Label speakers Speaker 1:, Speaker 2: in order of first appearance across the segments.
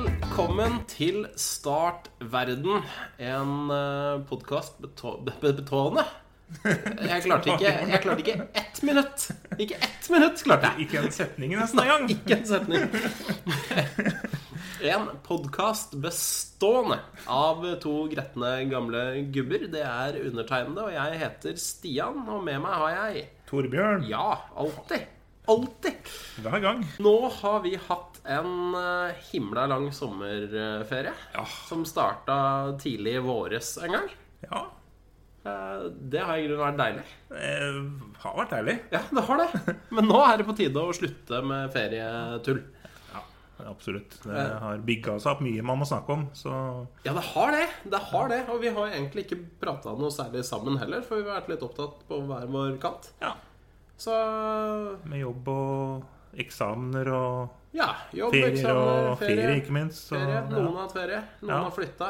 Speaker 1: Velkommen til Start Verden, en eh, podkast betående. Jeg klarte, ikke, jeg klarte ikke ett minutt. Ikke ett minutt klarte jeg.
Speaker 2: Ikke en setning nesten engang.
Speaker 1: Ikke en setning. En podkast bestående av to gretne gamle gubber. Det er undertegnede, og jeg heter Stian. Og med meg har jeg
Speaker 2: Torbjørn,
Speaker 1: Ja, alltid. Alltid.
Speaker 2: hver gang.
Speaker 1: Nå har vi hatt en eh, himla lang sommerferie.
Speaker 2: Ja.
Speaker 1: Som starta tidlig i våres en gang.
Speaker 2: Ja.
Speaker 1: Eh, Det har i grunnen vært deilig.
Speaker 2: Det har Eh, vært deilig.
Speaker 1: Ja, det har det. Men nå er det på tide å slutte med ferietull.
Speaker 2: Ja, absolutt. Det har bygga seg opp mye man må snakke om, så
Speaker 1: Ja, det har det. Det har det. Og vi har egentlig ikke prata noe særlig sammen heller, for vi har vært litt opptatt på hver vår kant.
Speaker 2: ja.
Speaker 1: Så
Speaker 2: Med jobb og eksamener og
Speaker 1: ja. Jobb,
Speaker 2: ferier
Speaker 1: eksamener,
Speaker 2: og ferie, ikke minst. Så,
Speaker 1: ferie. Noen har
Speaker 2: ja.
Speaker 1: hatt ferie, noen
Speaker 2: Ja.
Speaker 1: har flytta.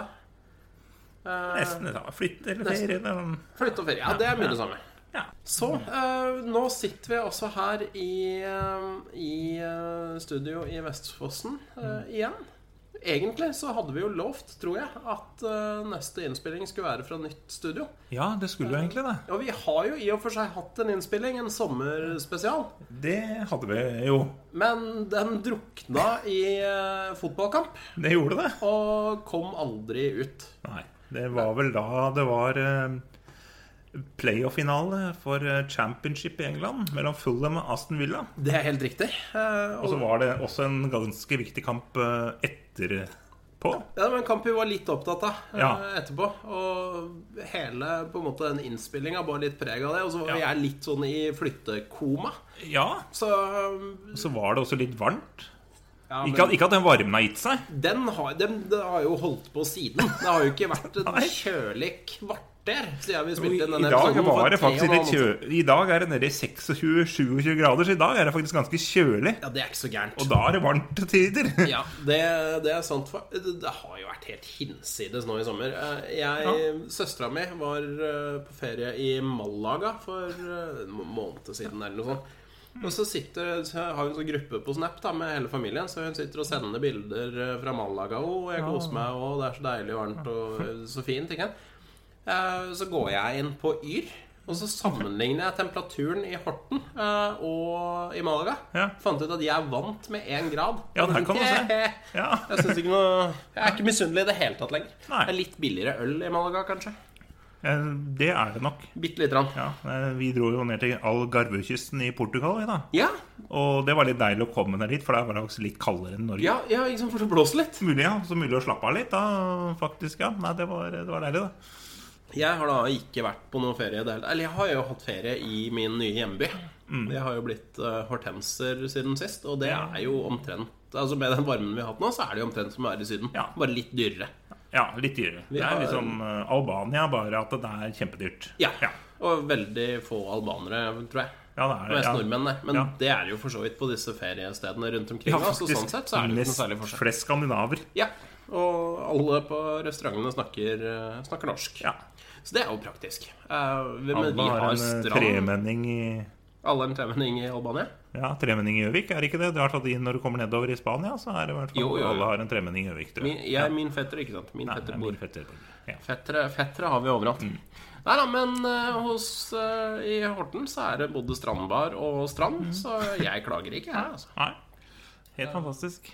Speaker 2: Nesten ja, flytt eller
Speaker 1: Nesten.
Speaker 2: ferie. det er sånn-
Speaker 1: Flytt og ferie. Ja, det er mye det samme.
Speaker 2: Ja.
Speaker 1: Så eh, nå sitter vi også her i, eh, i eh, studio i Vestfossen eh, igjen. Egentlig så hadde vi jo lovt, tror jeg, at eh, neste innspilling skulle være fra nytt studio.
Speaker 2: ja, det skulle jo egentlig det.
Speaker 1: Og vi har jo i og for seg hatt en innspilling, en sommerspesial.
Speaker 2: Det hadde vi jo.
Speaker 1: Men den drukna i eh, fotballkamp
Speaker 2: Det gjorde det.
Speaker 1: og kom aldri ut.
Speaker 2: Nei. Det var vel da det var eh, playoff-finale for eh, championship i England mellom Fulham og Aston Villa.
Speaker 1: Det er helt riktig. Eh,
Speaker 2: Og så
Speaker 1: og,
Speaker 2: var det også en ganske viktig kamp eh, etterpå.
Speaker 1: ja, men kamp vi var litt opptatt av eh,
Speaker 2: Ja.
Speaker 1: etterpå. Og hele på en måte den innspillinga bar litt preg av det. Og så var
Speaker 2: Ja.
Speaker 1: jeg litt sånn i flyttekoma.
Speaker 2: Ja,
Speaker 1: Så
Speaker 2: og så var det også litt varmt.
Speaker 1: ja,
Speaker 2: Ikke at,
Speaker 1: men
Speaker 2: ikke at den varmen har gitt seg.
Speaker 1: den har, den, det har jo holdt på siden. Det har jo ikke vært
Speaker 2: Nei.
Speaker 1: et kjølig kvarter siden vi
Speaker 2: I,
Speaker 1: spilte inn
Speaker 2: i
Speaker 1: denne
Speaker 2: dag
Speaker 1: episoden for
Speaker 2: var det
Speaker 1: tre og en
Speaker 2: faktisk
Speaker 1: halv
Speaker 2: litt
Speaker 1: måned siden.
Speaker 2: kjø... I dag er det nede i 26-27 grader, så i dag er det faktisk ganske kjølig.
Speaker 1: Ja, det er ikke så gærent.
Speaker 2: Og da er det varmt til tider.
Speaker 1: Ja, det, det er sant. For, det, det har jo vært helt hinsides nå i sommer. Eh, Jeg, Søstera mi var eh, på ferie i Malaga for eh, en må- måned siden eller noe sånt. Og så sitter, så har hun sånn gruppe på Snap da, med hele familien, så hun sitter og sender bilder eh, fra Malaga. Og jeg koser meg, og det er så deilig og varmt og eh, så fint. Ikke? sant? Eh, Så går jeg inn på Yr, og så sammenligner jeg temperaturen i Horten eh, og i Malaga.
Speaker 2: Ja.
Speaker 1: Fant ut at jeg vant med én grad.
Speaker 2: Ja, der kan du se. Ja.
Speaker 1: Jeg synes ikke noe Jeg er ikke misunnelig i det hele tatt lenger.
Speaker 2: Nei.
Speaker 1: Det er litt billigere øl i Malaga, kanskje.
Speaker 2: Eh, Det er det nok.
Speaker 1: Bitte lite grann.
Speaker 2: Ja, eh, Vi dro jo ned til Algarvekysten i Portugal, vi da.
Speaker 1: Ja,
Speaker 2: Og det var litt deilig å komme ned dit, for der var det også litt kaldere enn Norge.
Speaker 1: ja, ja liksom for det blåser litt.
Speaker 2: Mulig, ja. Så mulig å slappe av litt, da. Faktisk, ja. Nei, det var, det var deilig, det.
Speaker 1: Jeg har da ikke vært på noen ferie i det hele Eller jeg har jo hatt ferie i min nye hjemby.
Speaker 2: Mm.
Speaker 1: Jeg har jo blitt eh, hortenser siden sist, og det er jo omtrent Altså Med den varmen vi har hatt nå, så er det jo omtrent som å være i Syden.
Speaker 2: Ja.
Speaker 1: Bare litt dyrere.
Speaker 2: Ja, litt dyrere.
Speaker 1: Vi
Speaker 2: det er
Speaker 1: har-
Speaker 2: liksom eh, Albania, bare at det er kjempedyrt.
Speaker 1: Ja.
Speaker 2: Ja,
Speaker 1: Og veldig få albanere, tror jeg.
Speaker 2: ja det er det.
Speaker 1: Mest
Speaker 2: ja.
Speaker 1: nordmenn, det. Men
Speaker 2: Ja.
Speaker 1: det er det jo for så vidt på disse feriestedene rundt omkring.
Speaker 2: Ja,
Speaker 1: da, så
Speaker 2: faktisk,
Speaker 1: sånn sett så er det jo ikke noe særlig
Speaker 2: nest
Speaker 1: forskjell.
Speaker 2: Flest skandinaver.
Speaker 1: Ja, og alle på restaurantene snakker, eh, snakker norsk.
Speaker 2: Ja.
Speaker 1: Så det er jo praktisk. Eh, vi- men
Speaker 2: Alle
Speaker 1: vi
Speaker 2: har
Speaker 1: har
Speaker 2: en eh,
Speaker 1: strand.
Speaker 2: tremenning i
Speaker 1: Alle en tremenning i Albania?
Speaker 2: ja, tremenning i Gjøvik, er det ikke det? Du har tatt inn når du kommer nedover i Spania, så er det i hvert fall
Speaker 1: Jo, jo, jo.
Speaker 2: alle har en tremenning i Gjøvik, tror
Speaker 1: Min, jeg, min fetter, ikke sant? Min
Speaker 2: Nei, det
Speaker 1: fetter
Speaker 2: er
Speaker 1: bor
Speaker 2: min fetter Mm. bor. Ja.
Speaker 1: Fettere, fettere har vi overalt. Nei da, men eh, hos, eh, i Horten så er det både strandbar og strand,
Speaker 2: Mm.
Speaker 1: så jeg klager ikke her, altså.
Speaker 2: Nei. Helt fantastisk.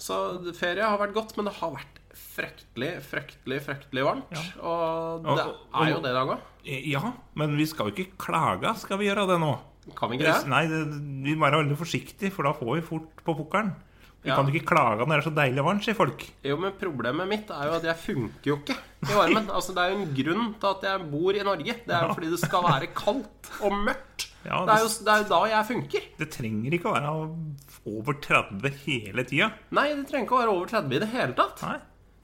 Speaker 1: Så ferie har vært godt, men det har vært fryktelig, fryktelig, fryktelig varmt. Og det
Speaker 2: Og- og-
Speaker 1: er jo det i dag òg.
Speaker 2: Eh, Ja, men vi skal jo ikke klage. Skal vi gjøre det nå?
Speaker 1: Kan vi ikke det?
Speaker 2: Nei, det, vi må være veldig forsiktige, for da får vi fort på pukkelen. Vi
Speaker 1: Ja.
Speaker 2: kan jo ikke klage når det er så deilig varmt, sier folk.
Speaker 1: Jo, men problemet mitt er jo at jeg funker jo ikke i varmen. Altså, det er jo en grunn til at jeg bor i Norge. Det er jo fordi det skal være kaldt og mørkt.
Speaker 2: Ja,
Speaker 1: Det er jo, det er jo da jeg funker.
Speaker 2: Det trenger ikke å være over 30 hele tida.
Speaker 1: Nei, det trenger ikke å være over 30 i det hele tatt.
Speaker 2: Nei.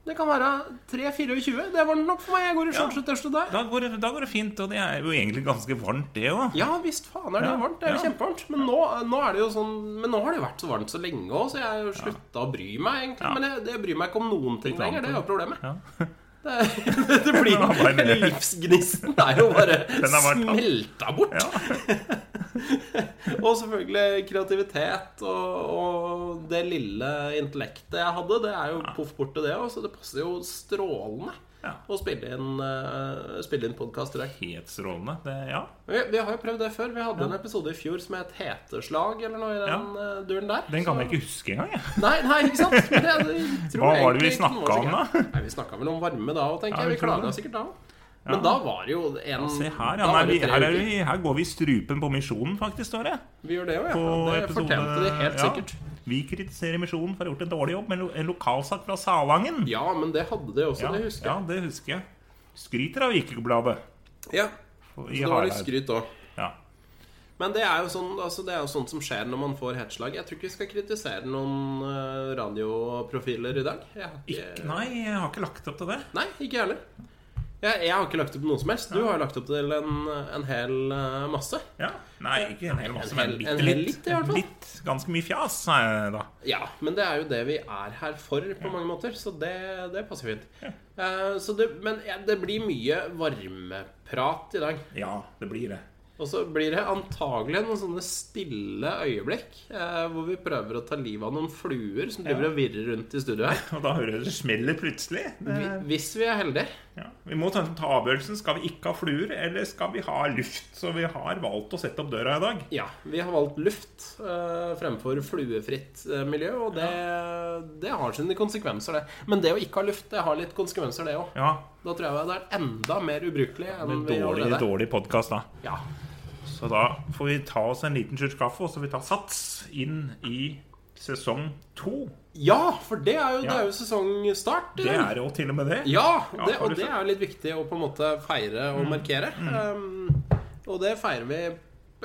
Speaker 1: Det kan være 3-24. Det var nok for meg. Jeg går i shorts og tørste der.
Speaker 2: Da går, det, da går det fint, og det er jo egentlig ganske varmt, det òg.
Speaker 1: Ja visst faen er det
Speaker 2: Ja,
Speaker 1: varmt. Det er jo
Speaker 2: ja.
Speaker 1: kjempevarmt. Men nå, nå er det jo sånn Men nå har det jo vært så varmt så lenge òg, så jeg har jo slutta å bry meg, egentlig. Men jeg, det bryr meg ikke om noen ting
Speaker 2: annet,
Speaker 1: lenger. Det er jo problemet.
Speaker 2: Ja.
Speaker 1: Det, det blir
Speaker 2: Den er bare-
Speaker 1: Livsgnisten er jo bare
Speaker 2: er bare tatt.
Speaker 1: smelta bort.
Speaker 2: Ja.
Speaker 1: og selvfølgelig kreativitet og, og det lille intellektet jeg hadde, det er jo poff borte, det òg, så det passer jo strålende
Speaker 2: Ja.
Speaker 1: å spille inn, uh, spille inn podkast direkte.
Speaker 2: Helt strålende. Det, ja.
Speaker 1: Vi, vi har jo prøvd det før. Vi hadde en episode i fjor som het 'Heteslag' eller noe i den eh, duren der.
Speaker 2: Den kan
Speaker 1: så-
Speaker 2: jeg ikke huske engang. jeg.
Speaker 1: Nei, nei, ikke sant? Men det, det tror
Speaker 2: Hva
Speaker 1: jeg
Speaker 2: var det vi
Speaker 1: egentlig ikke noe
Speaker 2: snakket om
Speaker 1: var sikkert. Nei, Vi snakka vel om varme da òg, tenker
Speaker 2: Ja,
Speaker 1: jeg.
Speaker 2: vi
Speaker 1: Vi
Speaker 2: tror
Speaker 1: klaga
Speaker 2: det.
Speaker 1: sikkert da òg. Men da var det jo en
Speaker 2: Se
Speaker 1: da
Speaker 2: her, ja. Nei,
Speaker 1: var
Speaker 2: vi,
Speaker 1: det tre
Speaker 2: her, er
Speaker 1: uker.
Speaker 2: vi, her går vi i strupen på Misjonen, faktisk, står det.
Speaker 1: Vi gjør det jo, ja.
Speaker 2: på
Speaker 1: Det
Speaker 2: episode-
Speaker 1: fortjente de helt
Speaker 2: ja.
Speaker 1: sikkert.
Speaker 2: Vi kritiserer Misjonen for å ha gjort en dårlig jobb med lo- en lokalsak fra Salangen.
Speaker 1: Ja, men det hadde de også,
Speaker 2: Ja,
Speaker 1: det husker
Speaker 2: ja,
Speaker 1: jeg.
Speaker 2: det husker jeg. Skryter av Vikebladet.
Speaker 1: Ja,
Speaker 2: i
Speaker 1: Så det var litt
Speaker 2: Hareid.
Speaker 1: skryt òg.
Speaker 2: Ja.
Speaker 1: Men det er, jo sånn, altså det er jo sånt som skjer når man får headslag. Jeg tror ikke vi skal kritisere noen eh, radioprofiler i dag. Jeg har
Speaker 2: Ikke, nei, jeg har ikke lagt opp til det.
Speaker 1: Nei, ikke jeg heller. Jeg, jeg har ikke lagt opp til noe som helst. Du har jo lagt opp til en, en hel eh, masse.
Speaker 2: Ja. Nei, ikke en hel masse, men
Speaker 1: hel-
Speaker 2: bitte
Speaker 1: en hel
Speaker 2: litt.
Speaker 1: litt, i hvert fall.
Speaker 2: Litt, ganske mye fjas, eh, da.
Speaker 1: Ja, men det er jo det vi er her for på mange måter, så det, det passer fint. Eh, så det, men ja, det blir mye varmeprat i dag.
Speaker 2: Ja, det blir det.
Speaker 1: Og så blir det antagelig noen sånne stille øyeblikk eh, hvor vi prøver å ta livet av noen fluer som driver og virrer rundt i studio her.
Speaker 2: Og da hører jeg det smeller plutselig. Det,
Speaker 1: Vi- Hvis vi er heldige.
Speaker 2: ja. Vi må ta ta avgjørelsen. Skal vi ikke ha fluer, eller skal vi ha luft? Så vi har valgt å sette opp døra i dag.
Speaker 1: Ja, vi har valgt luft eh, fremfor fluefritt eh, miljø, og det, det har sine konsekvenser, det. Men det å ikke ha luft, det har litt konsekvenser, det òg.
Speaker 2: Ja,
Speaker 1: Da tror jeg det er enda mer ubrukelig enn vi
Speaker 2: Dårlig,
Speaker 1: allerede er.
Speaker 2: dårlig podkast, da.
Speaker 1: Ja.
Speaker 2: Så da får vi ta oss en liten slurk kaffe, og så får vi ta sats inn i sesong to.
Speaker 1: ja, for det er jo, det
Speaker 2: Ja.
Speaker 1: er jo sesongstart. i
Speaker 2: Det
Speaker 1: dag.
Speaker 2: er jo til og med det.
Speaker 1: Ja,
Speaker 2: Ja,
Speaker 1: det,
Speaker 2: har
Speaker 1: og
Speaker 2: du Mm.
Speaker 1: det er jo litt viktig å på en måte feire og markere. Um, og det feirer vi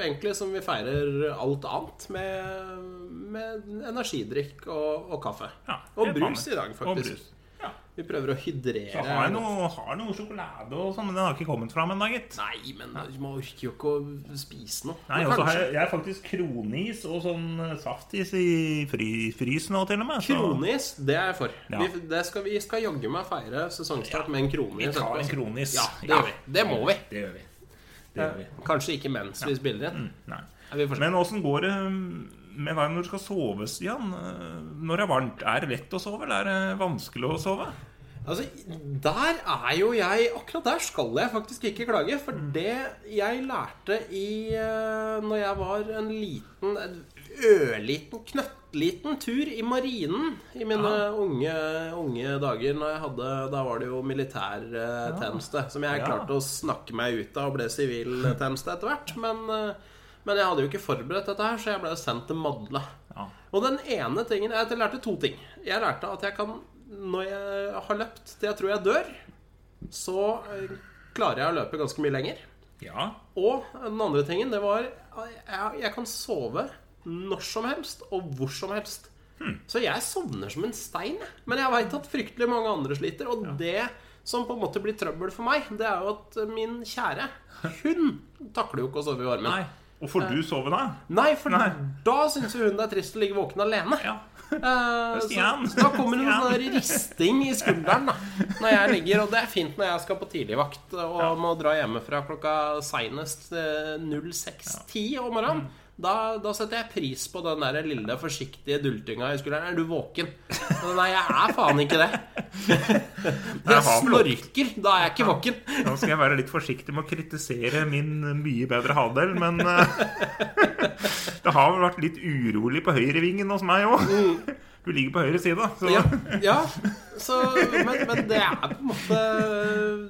Speaker 1: egentlig som vi feirer alt annet, med, med energidrikk og, og kaffe.
Speaker 2: Ja,
Speaker 1: og
Speaker 2: helt
Speaker 1: brus
Speaker 2: vanlig.
Speaker 1: i dag,
Speaker 2: Og
Speaker 1: faktisk.
Speaker 2: brus. Ja.
Speaker 1: Vi prøver å hydrere
Speaker 2: Så har jeg noe, har noe sjokolade og sånn, men den har ikke kommet fram ennå, gitt.
Speaker 1: Nei, men man orker jo ikke å spise noe.
Speaker 2: Nei,
Speaker 1: Men
Speaker 2: og så har
Speaker 1: kanskje-
Speaker 2: jeg, jeg har faktisk kronis og sånn eh, saftis i fry, frys nå, til og med. så-
Speaker 1: Kronis, det er jeg for.
Speaker 2: Ja.
Speaker 1: Vi, det skal, vi skal jaggu meg feire sesongstart med en kronis.
Speaker 2: Vi tar en
Speaker 1: etterpå.
Speaker 2: kronis.
Speaker 1: Ja, det gjør vi. Det må vi.
Speaker 2: Det gjør vi. Det gjør vi. Mm.
Speaker 1: Kanskje ikke mens vi spiller inn.
Speaker 2: Nei.
Speaker 1: Nei, vi får se.
Speaker 2: Men åssen går det mm, med deg når du skal sove, Stian? Eh, Når det er varmt, er det lett å sove, eller er det vanskelig å sove?
Speaker 1: Altså, der er jo jeg Akkurat der skal jeg faktisk ikke klage. For
Speaker 2: Mm.
Speaker 1: det jeg lærte i eh, Når jeg var en liten, en ørliten, knøttliten tur i marinen i mine unge, unge dager når jeg hadde, Da var det jo militærtjeneste, som jeg
Speaker 2: Ja.
Speaker 1: klarte å snakke meg ut av og ble siviltjeneste etter hvert. Men, eh, men jeg hadde jo ikke forberedt dette her, så jeg ble sendt til Madla.
Speaker 2: Ja.
Speaker 1: Og den ene tingen Jeg lærte to ting. Jeg lærte at jeg kan Når jeg har løpt til jeg tror jeg dør, så eh, klarer jeg å løpe ganske mye lenger.
Speaker 2: ja.
Speaker 1: Og den andre tingen, det var at jeg, jeg kan sove når som helst og hvor som helst.
Speaker 2: Hmm.
Speaker 1: Så jeg sovner som en stein. jeg. Men jeg veit at fryktelig mange andre sliter. Og det som på en måte blir trøbbel for meg, det er jo at min kjære, hun takler jo ikke å sove i varmen.
Speaker 2: Nei. Og får du sove, da?
Speaker 1: Nei, for
Speaker 2: Nei.
Speaker 1: da syns jo hun det er trist å ligge våken alene.
Speaker 2: Ja.
Speaker 1: Eh, så,
Speaker 2: Stian.
Speaker 1: så da kommer det noen
Speaker 2: Stian.
Speaker 1: sånn der risting i skulderen da når jeg ligger. Og det er fint når jeg skal på tidligvakt og må dra hjemmefra klokka seinest eh, 06.10 om morgenen.
Speaker 2: Mm.
Speaker 1: Da, da setter jeg pris på den der lille, forsiktige dultinga i skulderen. Er du våken? Men Nei, jeg er faen ikke det.
Speaker 2: Jeg
Speaker 1: Jeg
Speaker 2: har vel
Speaker 1: snorker. Da er jeg ikke våken.
Speaker 2: Nå skal jeg være litt forsiktig med å kritisere min mye bedre halvdel, men eh, det har vel vært litt urolig på høyrevingen hos meg òg. Du ligger på høyre side, så
Speaker 1: Mm. Ja, ja. Så, men, men det er på en måte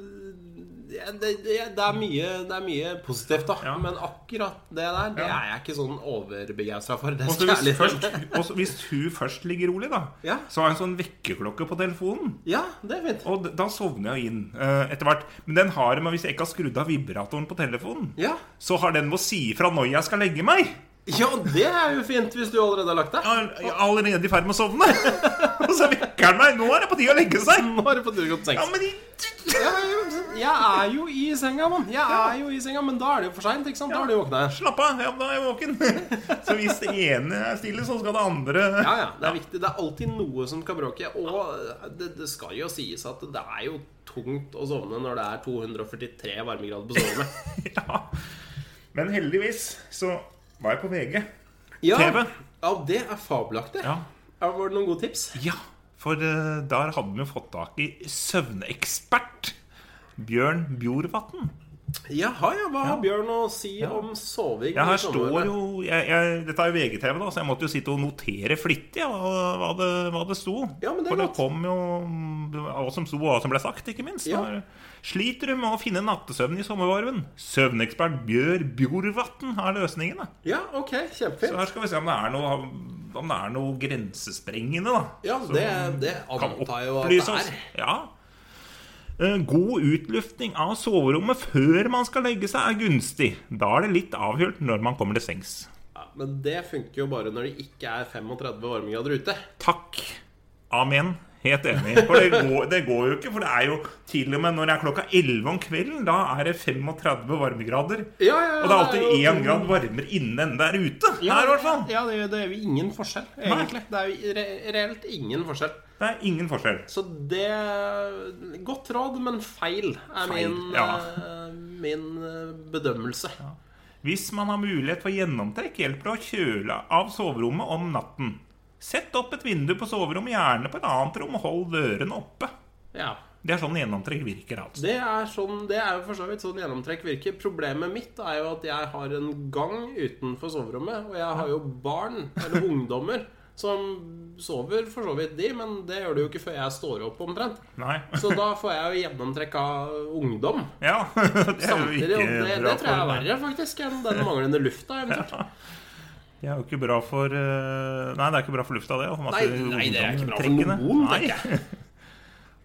Speaker 1: ja, det, det, det, er mye, det er mye positivt, da.
Speaker 2: Ja.
Speaker 1: Men akkurat det der Det
Speaker 2: Ja.
Speaker 1: er jeg ikke sånn overbegeistra for. Det
Speaker 2: Også
Speaker 1: skal jeg
Speaker 2: hvis,
Speaker 1: litt
Speaker 2: først, også hvis hun først ligger rolig, da,
Speaker 1: Ja.
Speaker 2: så har jeg en sånn vekkerklokke på telefonen.
Speaker 1: Ja, det er fint.
Speaker 2: Og d- da sovner jeg jo inn eh, etter hvert. Men den har men hvis jeg ikke har skrudd av vibratoren på telefonen,
Speaker 1: Ja.
Speaker 2: så har den med å si ifra når jeg skal legge meg.
Speaker 1: ja, det er jo fint hvis du allerede har lagt deg.
Speaker 2: Jeg er allerede i ferd med å sovne. Og så vekker den meg. Nå er det på tide å legge seg.
Speaker 1: Nå har du fått utgått
Speaker 2: Ja,
Speaker 1: seks.
Speaker 2: men i
Speaker 1: Ja, men jeg er jo i senga, mann. Jeg er jo i senga, Men da er det jo for seint. Da har du våkna.
Speaker 2: Slapp av, ja, da er jeg våken. Så hvis det ene er stille, så skal det andre
Speaker 1: Ja, ja, det er viktig. Det er alltid noe som kan bråke. Og det, det skal jo sies at det er jo tungt å sovne når det er 243 varmegrader på soverommet.
Speaker 2: Ja. Men heldigvis så var jeg på VG.
Speaker 1: Ja,
Speaker 2: TV.
Speaker 1: ja det er fabelaktig.
Speaker 2: Ja.
Speaker 1: Ja, Var det noen gode tips?
Speaker 2: ja, for eh, der hadde vi jo fått tak i søvnekspert Bjørn Bjorvatn.
Speaker 1: Jaha, ja. Hva har Bjørn å si om soving?
Speaker 2: Ja,
Speaker 1: i
Speaker 2: her står
Speaker 1: sommervarme?
Speaker 2: jo jeg, jeg, Dette er jo VGTV, da, så jeg måtte jo sitte og notere flittig ja, hva, det, hva det sto.
Speaker 1: Ja, men det er
Speaker 2: For det
Speaker 1: godt.
Speaker 2: kom jo mm, hva som sto, og hva som ble sagt, ikke minst.
Speaker 1: Ja.
Speaker 2: Da. Sliter du med å finne nattesøvn i sommervarmen? Søvnekspert Bjør Bjorvatn har løsningene.
Speaker 1: Ja, ok.
Speaker 2: Så
Speaker 1: Kjempefint.
Speaker 2: her skal vi se om det er noe, om det er noe grensesprengende, da.
Speaker 1: Ja,
Speaker 2: som
Speaker 1: det, det
Speaker 2: kan
Speaker 1: antar jeg jo at
Speaker 2: opplyse
Speaker 1: det
Speaker 2: oss.
Speaker 1: er.
Speaker 2: Ja. Eh, God utlufting av soverommet før man skal legge seg, er gunstig. Da er det litt avhjulpet når man kommer til sengs.
Speaker 1: Ja, men det funker jo bare når det ikke er 35 varmegrader ute.
Speaker 2: Takk. Amen. Helt enig. For det går, det går jo ikke. For det er jo til og med når det er klokka 11 om kvelden, da er det 35 varmegrader.
Speaker 1: Ja, ja, ja,
Speaker 2: Og det er alltid
Speaker 1: det er jo-
Speaker 2: én grad varmere inne enn det er ute. Her, i hvert fall.
Speaker 1: Ja, det, det er jo ingen forskjell, egentlig. Det er jo re reelt ingen forskjell.
Speaker 2: Det er ingen forskjell.
Speaker 1: Så det Godt råd, men feil er
Speaker 2: Feil,
Speaker 1: min,
Speaker 2: ja.
Speaker 1: eh, min eh, bedømmelse.
Speaker 2: Hvis man har mulighet for gjennomtrekk, hjelper det å kjøle av soverommet om natten. Sett opp et vindu på soverommet, gjerne på et annet rom, og hold dørene oppe.
Speaker 1: Ja.
Speaker 2: Det er sånn gjennomtrekk virker, altså.
Speaker 1: Det er, sånn, det er jo for så vidt sånn gjennomtrekk virker. Problemet mitt er jo at jeg har en gang utenfor soverommet, og jeg har jo barn, eller ungdommer, som sover for så vidt, de, men det gjør de jo ikke før jeg står opp, omtrent.
Speaker 2: Nei.
Speaker 1: Så da får jeg jo gjennomtrekk av ungdom.
Speaker 2: Ja, det er jo
Speaker 1: Samtidig,
Speaker 2: ikke
Speaker 1: og det, det
Speaker 2: bra
Speaker 1: tror jeg er
Speaker 2: for-
Speaker 1: verre, faktisk, enn den manglende lufta, eventuelt.
Speaker 2: Det er jo ikke bra for eh, Nei, det er ikke bra for lufta, det. og masse
Speaker 1: Nei, nei, det er ikke bra for
Speaker 2: ungdomstrekkene.
Speaker 1: noen,
Speaker 2: Nei.
Speaker 1: tenker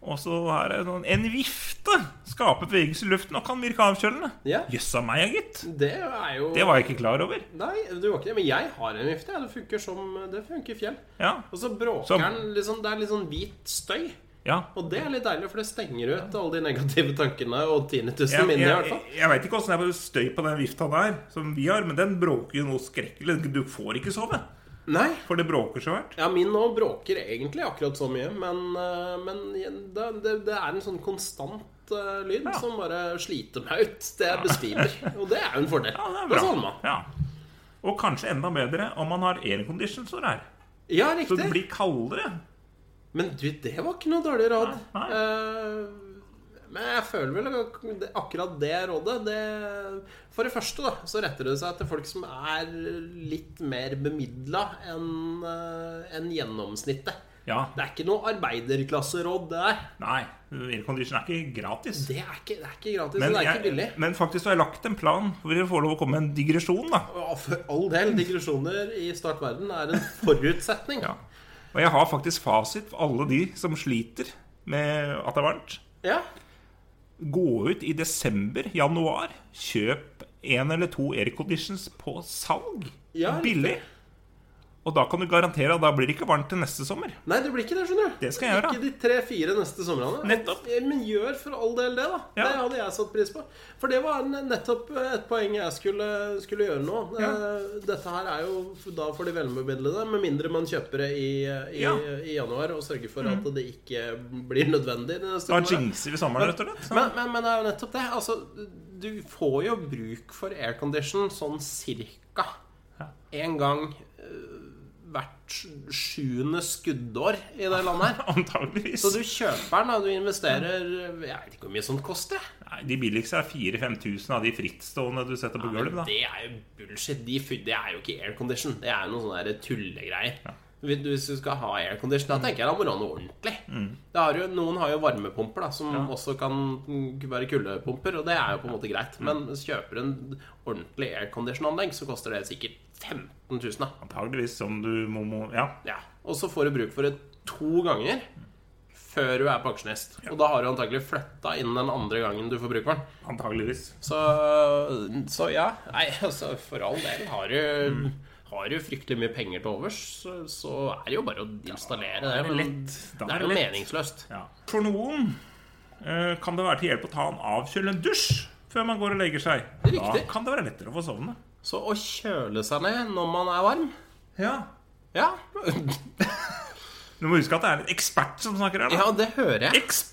Speaker 2: Og så er det sånn En vifte skaper bevegelse i luften og kan virke avkjølende.
Speaker 1: Ja.
Speaker 2: Jøssa meg, gitt.
Speaker 1: Det er jo
Speaker 2: Det var jeg ikke klar over.
Speaker 1: Nei, du var ikke det. Men jeg har en vifte. jeg. Det funker som Det funker fjell.
Speaker 2: Ja.
Speaker 1: Og så bråker
Speaker 2: Som-
Speaker 1: den liksom, Det er litt sånn hvit støy.
Speaker 2: ja.
Speaker 1: Og det er litt deilig, for det stenger ut alle de negative tankene og tinitusen
Speaker 2: Jeg,
Speaker 1: mine, i hvert
Speaker 2: jeg,
Speaker 1: fall.
Speaker 2: jeg veit ikke åssen det er med støy på den vifta der, som vi har, men den bråker jo noe skrekkelig. Du får ikke sove,
Speaker 1: Nei.
Speaker 2: for det bråker så hardt.
Speaker 1: Ja, min nå bråker egentlig akkurat så mye, men, eh, men igjen, det, det, det er en sånn konstant eh, lyd som bare sliter meg ut. Det jeg besvimer. Og det er jo en fordel.
Speaker 2: Ja, det er
Speaker 1: Da savner
Speaker 2: bra.
Speaker 1: man.
Speaker 2: Ja. Og kanskje enda bedre om man har aircondition står her.
Speaker 1: Ja,
Speaker 2: Så det
Speaker 1: riktig.
Speaker 2: blir kaldere.
Speaker 1: Men du, det var ikke noe dårlig råd.
Speaker 2: Nei, nei.
Speaker 1: Eh, men jeg føler vel ak- det- akkurat det rådet det, For det første da, så retter det seg til folk som er litt mer bemidla enn eh, enn gjennomsnittet.
Speaker 2: Ja.
Speaker 1: Det er ikke noe arbeiderklasseråd, det der.
Speaker 2: Nei, aircondition er ikke gratis.
Speaker 1: Det er ikke, det er ikke gratis,
Speaker 2: Men,
Speaker 1: og det er ikke billig.
Speaker 2: jeg, men faktisk har jeg lagt en plan hvor dere får lov å komme med en digresjon. da
Speaker 1: Og for all del, digresjoner i startverden er en forutsetning.
Speaker 2: ja. Og jeg har faktisk fasit for alle de som sliter med at det er varmt.
Speaker 1: Ja.
Speaker 2: Gå ut i desember, januar. Kjøp en eller to airconditions på salg.
Speaker 1: Ja, riktig.
Speaker 2: Billig. Og da kan du garantere at da blir det ikke varmt til neste sommer.
Speaker 1: Nei, det blir ikke det, skjønner du.
Speaker 2: Det skal jeg gjøre.
Speaker 1: Ikke de tre-fire neste somrene.
Speaker 2: Nettopp.
Speaker 1: Men gjør for all del det, da.
Speaker 2: Ja.
Speaker 1: Det hadde jeg satt pris på. For det var en- nettopp eh, et poeng jeg skulle, skulle gjøre nå.
Speaker 2: Ja.
Speaker 1: Eh, Dette her er jo da for de velbemidlede, med mindre man kjøper det i, eh, i,
Speaker 2: Ja. Mm.
Speaker 1: i januar og sørger for at det ikke blir nødvendig. de neste
Speaker 2: Da
Speaker 1: årene.
Speaker 2: jinxer vi sommeren, rett og slett.
Speaker 1: Men, men, men det er jo nettopp det. Altså, du får jo bruk for aircondition sånn cirka en gang eh, hvert sjuende skuddår i det landet her.
Speaker 2: Antageligvis.
Speaker 1: Så du kjøper den, og du investerer Jeg vet ikke hvor mye sånt koster. jeg.
Speaker 2: Nei, de billigste er 4000-5000 av de frittstående du setter på gulvet. da
Speaker 1: Det er jo bullshit. De, fy- det er jo ikke aircondition. Det er jo noen sånne der tullegreier. Hvis du- Hvis du skal ha aircondition, da tenker jeg da må du ha noe ordentlig. Det har jo, noen har jo varmepumper da, som også kan være kuldepumper, og det er jo på en måte greit. Men hvis du kjøper en ordentlig aircondition-anlegg, så koster det sikkert 15 000. Da.
Speaker 2: Antageligvis som du må, må Ja.
Speaker 1: Ja. Og så får du bruk for det to ganger før du er pensjonist. Og da har du antakelig flytta innen den andre gangen du får bruk for den.
Speaker 2: Antageligvis.
Speaker 1: Så, så ja, nei, altså for all del har du,
Speaker 2: Mm.
Speaker 1: har du fryktelig mye penger til overs, så, så er det jo bare å installere det. Men
Speaker 2: Da
Speaker 1: det
Speaker 2: er
Speaker 1: er
Speaker 2: det
Speaker 1: jo
Speaker 2: lett.
Speaker 1: meningsløst.
Speaker 2: Ja. For noen eh, kan det være til hjelp å ta en avkjølende dusj før man går og legger seg.
Speaker 1: er
Speaker 2: Da
Speaker 1: riktig.
Speaker 2: kan det være lettere å få sovne.
Speaker 1: Så å kjøle seg ned når man er varm
Speaker 2: Ja.
Speaker 1: Ja,
Speaker 2: Du må huske at det er en ekspert som snakker her.
Speaker 1: ja
Speaker 2: Da.
Speaker 1: det hører jeg.
Speaker 2: Ekspert!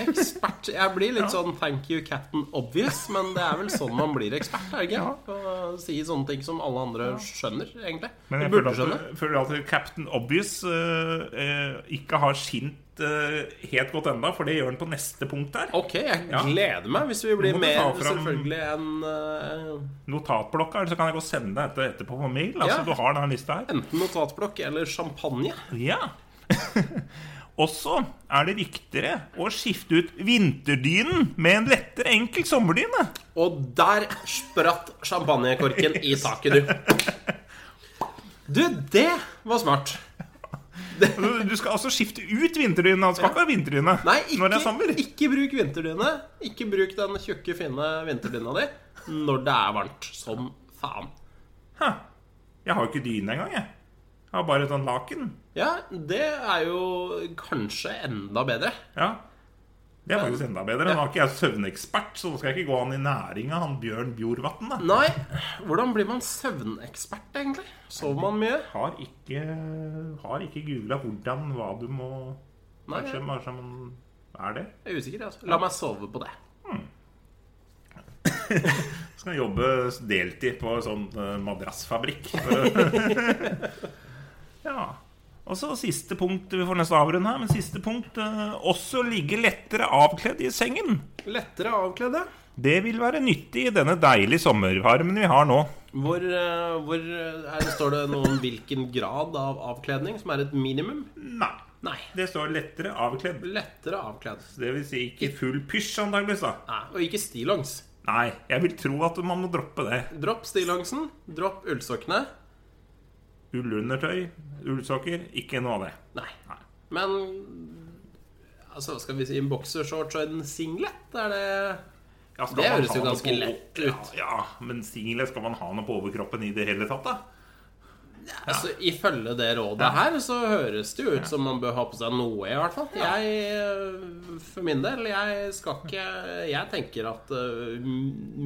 Speaker 1: Ekspert. Jeg blir litt sånn 'thank you, Captain Obvious', men det er vel sånn man blir ekspert? er det ikke? Å si sånne ting som alle andre skjønner, egentlig.
Speaker 2: Men jeg
Speaker 1: Burde
Speaker 2: føler
Speaker 1: skjønne.
Speaker 2: at, føler at Captain Obvious eh, eh, ikke har skint eh, helt godt enda, for det gjør han på neste punkt der.
Speaker 1: Ok, jeg
Speaker 2: Ja.
Speaker 1: gleder meg hvis vi blir
Speaker 2: Du må
Speaker 1: mer
Speaker 2: ta fram-
Speaker 1: selvfølgelig enn eh,
Speaker 2: Notatblokka, eller så kan jeg gå og sende deg dette etterpå på mail. Altså,
Speaker 1: Ja.
Speaker 2: Du har den lista her.
Speaker 1: enten notatblokk eller champagne.
Speaker 2: Ja. Også er det riktigere å skifte ut vinterdynen med en lettere, enkel sommerdyne.
Speaker 1: Og der spratt champagnekorken i taket, du. Du, det var smart.
Speaker 2: Du du skal altså skifte ut vinterdynen. Han skal ikke ha vinterdyne
Speaker 1: Nei, ikke,
Speaker 2: når det er sommer.
Speaker 1: ikke bruk vinterdyne. Ikke bruk den tjukke, fine vinterdyna di når det er varmt som faen.
Speaker 2: Hæ. Jeg har jo ikke dyne engang, jeg. Jeg har bare et sånt laken.
Speaker 1: Ja, det er jo kanskje enda bedre.
Speaker 2: Ja. Det er faktisk enda bedre. Nå er ikke jeg søvnekspert, så nå skal jeg ikke gå han i næringa, han Bjørn Bjorvatn. da.
Speaker 1: Nei, hvordan blir man søvnekspert, egentlig? Sover man mye?
Speaker 2: Har ikke, har ikke googla hvordan, hva du må
Speaker 1: Nei,
Speaker 2: Kanskje,
Speaker 1: jeg
Speaker 2: kanskje man er det?
Speaker 1: er usikker. Altså. La meg sove på det.
Speaker 2: Skal jobbe deltid på en sånn eh, madrassfabrikk. For- ja. Og så siste punkt Vi får nesten avrunde her, men siste punkt eh, Også ligge lettere avkledd i sengen.
Speaker 1: Lettere avkledd, ja.
Speaker 2: Det vil være nyttig i denne deilige sommervarmen vi har nå.
Speaker 1: Hvor, eh, hvor eh, her står det noe om hvilken grad av avkledning som er et minimum?
Speaker 2: Nei.
Speaker 1: Nei.
Speaker 2: Det står 'lettere avkledd'.
Speaker 1: Lettere avkledd.
Speaker 2: Det vil si ikke full pysj, antakeligvis. da.
Speaker 1: Nei, og ikke stillongs.
Speaker 2: Nei, jeg vil tro at man må droppe det.
Speaker 1: Dropp stillongsen, dropp ullsokkene.
Speaker 2: Ullundertøy, ullsokker, ikke noe av det.
Speaker 1: Nei.
Speaker 2: Nei.
Speaker 1: Men altså, skal vi si en boksershorts og en singlet? Er det
Speaker 2: Ja, skal
Speaker 1: Det
Speaker 2: man
Speaker 1: høres
Speaker 2: ha
Speaker 1: jo
Speaker 2: noe
Speaker 1: ganske
Speaker 2: på-
Speaker 1: lett ut.
Speaker 2: Ja, ja, men singlet, skal man ha noe på overkroppen i det hele tatt, da?
Speaker 1: Altså, Ifølge det rådet her så høres det jo ut som man bør ha på seg noe, i hvert fall. Jeg, eh, for min del, jeg skal ikke Jeg tenker at eh,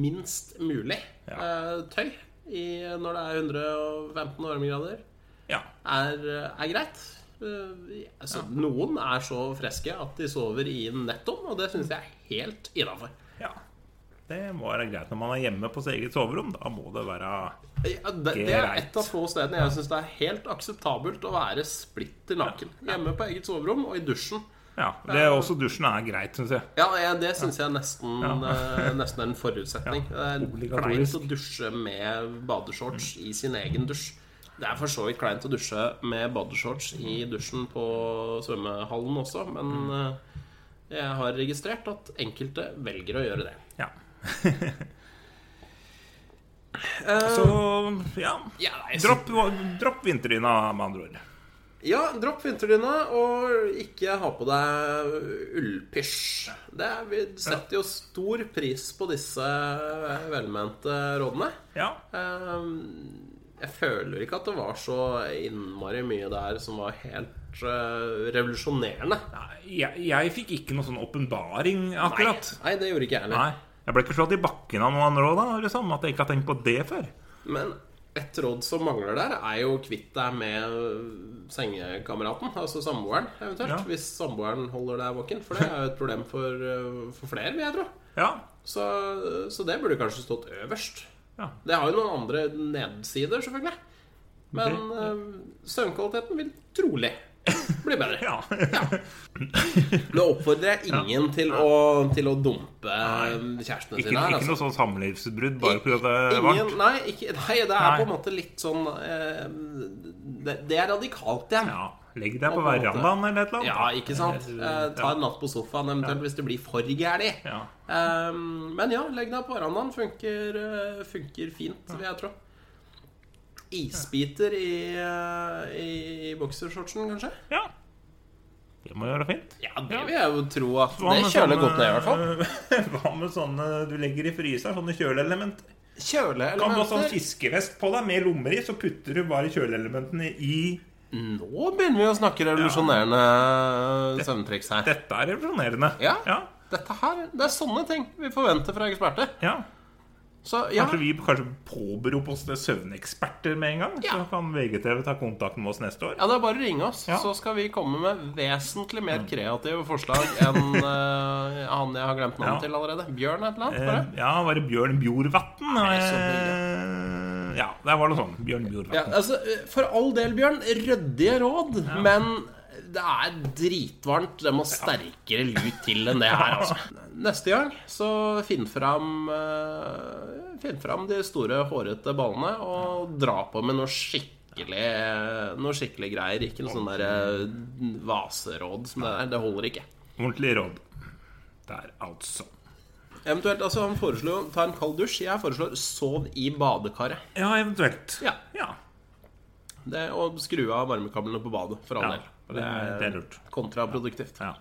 Speaker 1: minst mulig
Speaker 2: Ja.
Speaker 1: eh, tøy i, når det er 115 varmegrader,
Speaker 2: Ja.
Speaker 1: er, er greit. Eh, altså, Noen er så freske at de sover i netto, og det syns jeg er helt innafor.
Speaker 2: ja. Det må være greit når man er hjemme på sitt eget soverom. Da må det være
Speaker 1: Ja, det, det er
Speaker 2: Greit.
Speaker 1: et av få stedene jeg syns det er helt akseptabelt å være splitter naken. Hjemme på eget soverom og i dusjen.
Speaker 2: Ja. Det er også dusjen er greit, syns jeg.
Speaker 1: Ja, ja, det syns jeg nesten, eh, nesten er en forutsetning. Det er kleint
Speaker 2: obligatorisk.
Speaker 1: å dusje med badeshorts i sin egen dusj. Det er for så vidt kleint å dusje med badeshorts i dusjen på svømmehallen også, men
Speaker 2: Mm.
Speaker 1: eh, jeg har registrert at enkelte velger å gjøre det.
Speaker 2: Ja. Så ja.
Speaker 1: Ja, nei, så-
Speaker 2: Dropp, dropp vinterdyna, med andre ord.
Speaker 1: Ja, dropp vinterdyna og ikke ha på deg ullpysj. Det er, vi setter jo stor pris på disse velmente rådene.
Speaker 2: Ja.
Speaker 1: Ehm, Jeg føler ikke at det var så innmari mye der som var helt eh, revolusjonerende.
Speaker 2: Nei, Jeg, jeg fikk ikke noe sånn åpenbaring, akkurat.
Speaker 1: Nei, det gjorde ikke jeg heller.
Speaker 2: Nei. Jeg ble ikke slått i bakken av noen andre òg, da. Liksom, at jeg ikke har tenkt på det før.
Speaker 1: Men et råd som mangler der, er jo kvitt deg med sengekameraten, altså samboeren eventuelt.
Speaker 2: Ja.
Speaker 1: Hvis samboeren holder deg våken, for det er jo et problem for, eh, for flere, vil jeg tro.
Speaker 2: Ja.
Speaker 1: Så, så det burde kanskje stått øverst.
Speaker 2: ja.
Speaker 1: Det har jo noen andre nedsider, selvfølgelig. Men eh, søvnkvaliteten vil trolig bli bedre.
Speaker 2: ja.
Speaker 1: Nå oppfordrer jeg ingen til, å, til å dumpe kjærestene
Speaker 2: Ikke,
Speaker 1: sine her.
Speaker 2: ikke
Speaker 1: altså.
Speaker 2: noe sånn samlivsbrudd bare fordi det er
Speaker 1: Ingen,
Speaker 2: varmt.
Speaker 1: nei, ikke, nei, det er
Speaker 2: Nei.
Speaker 1: på en måte litt sånn eh, det, det er radikalt igjen.
Speaker 2: Ja. Legg deg
Speaker 1: På
Speaker 2: på
Speaker 1: en måte.
Speaker 2: verandaen eller et eller annet.
Speaker 1: Ja, ikke sant? Eh, ta en natt på sofaen eventuelt hvis det blir for gæli.
Speaker 2: Ja.
Speaker 1: Ehm, men ja, legg deg på verandaen. Funker, eh, funker fint, vil jeg tro. Isbiter i, eh, i, i boksershortsen, kanskje?
Speaker 2: ja. Det må være fint.
Speaker 1: Ja, det vil jeg jo tro at
Speaker 2: Hva
Speaker 1: Det
Speaker 2: med sånn, eh,
Speaker 1: kjøler
Speaker 2: sånne-
Speaker 1: godt ned, i hvert fall.
Speaker 2: Hva med sånne du legger i fryseren? Sånne kjøleelementer? Kan du ha sånn
Speaker 1: Kjøleelementer
Speaker 2: fiskevest på deg med lommer i, så putter du bare kjøleelementene i
Speaker 1: Nå begynner vi å snakke revolusjonerende søvntriks her.
Speaker 2: Dette er revolusjonerende.
Speaker 1: Ja.
Speaker 2: ja.
Speaker 1: Dette her, Det er sånne ting vi forventer fra eksperter.
Speaker 2: Ja.
Speaker 1: Så ja,
Speaker 2: Kanskje vi kanskje påberoper oss det søvneksperter med en gang?
Speaker 1: Ja.
Speaker 2: Så kan VGTV ta kontakt med oss neste år.
Speaker 1: ja, det er bare å ringe oss,
Speaker 2: Ja. Mm.
Speaker 1: så skal vi komme med vesentlig mer kreative forslag enn eh, han jeg har glemt navnet
Speaker 2: Ja.
Speaker 1: til allerede. Bjørn et eller annet?
Speaker 2: Eh,
Speaker 1: Bare.
Speaker 2: ja, var det Bjørn Bjorvatn?
Speaker 1: Nei, så
Speaker 2: Eh, ja, det var noe sånn. Bjørn
Speaker 1: Ja,
Speaker 2: Bjorvatn.
Speaker 1: altså, for all del, Bjørn, ryddige råd, men det er dritvarmt. Det må sterkere lut til enn det her, altså. Neste gang så finn fram eh, Finn fram de store, hårete ballene og dra på med noe skikkelig Noe skikkelig greier. Ikke noe sånn der eh, vaseråd som det der. Det holder ikke.
Speaker 2: Ordentlig råd. Der, altså.
Speaker 1: Eventuelt, altså, han foreslo ta en kald dusj. Jeg foreslår sov i badekaret.
Speaker 2: Ja, eventuelt.
Speaker 1: Ja.
Speaker 2: ja.
Speaker 1: Det, og skru av varmekablene på badet, for all
Speaker 2: Ja,
Speaker 1: del.
Speaker 2: det er- det er lurt.
Speaker 1: Kontraproduktivt.
Speaker 2: ja.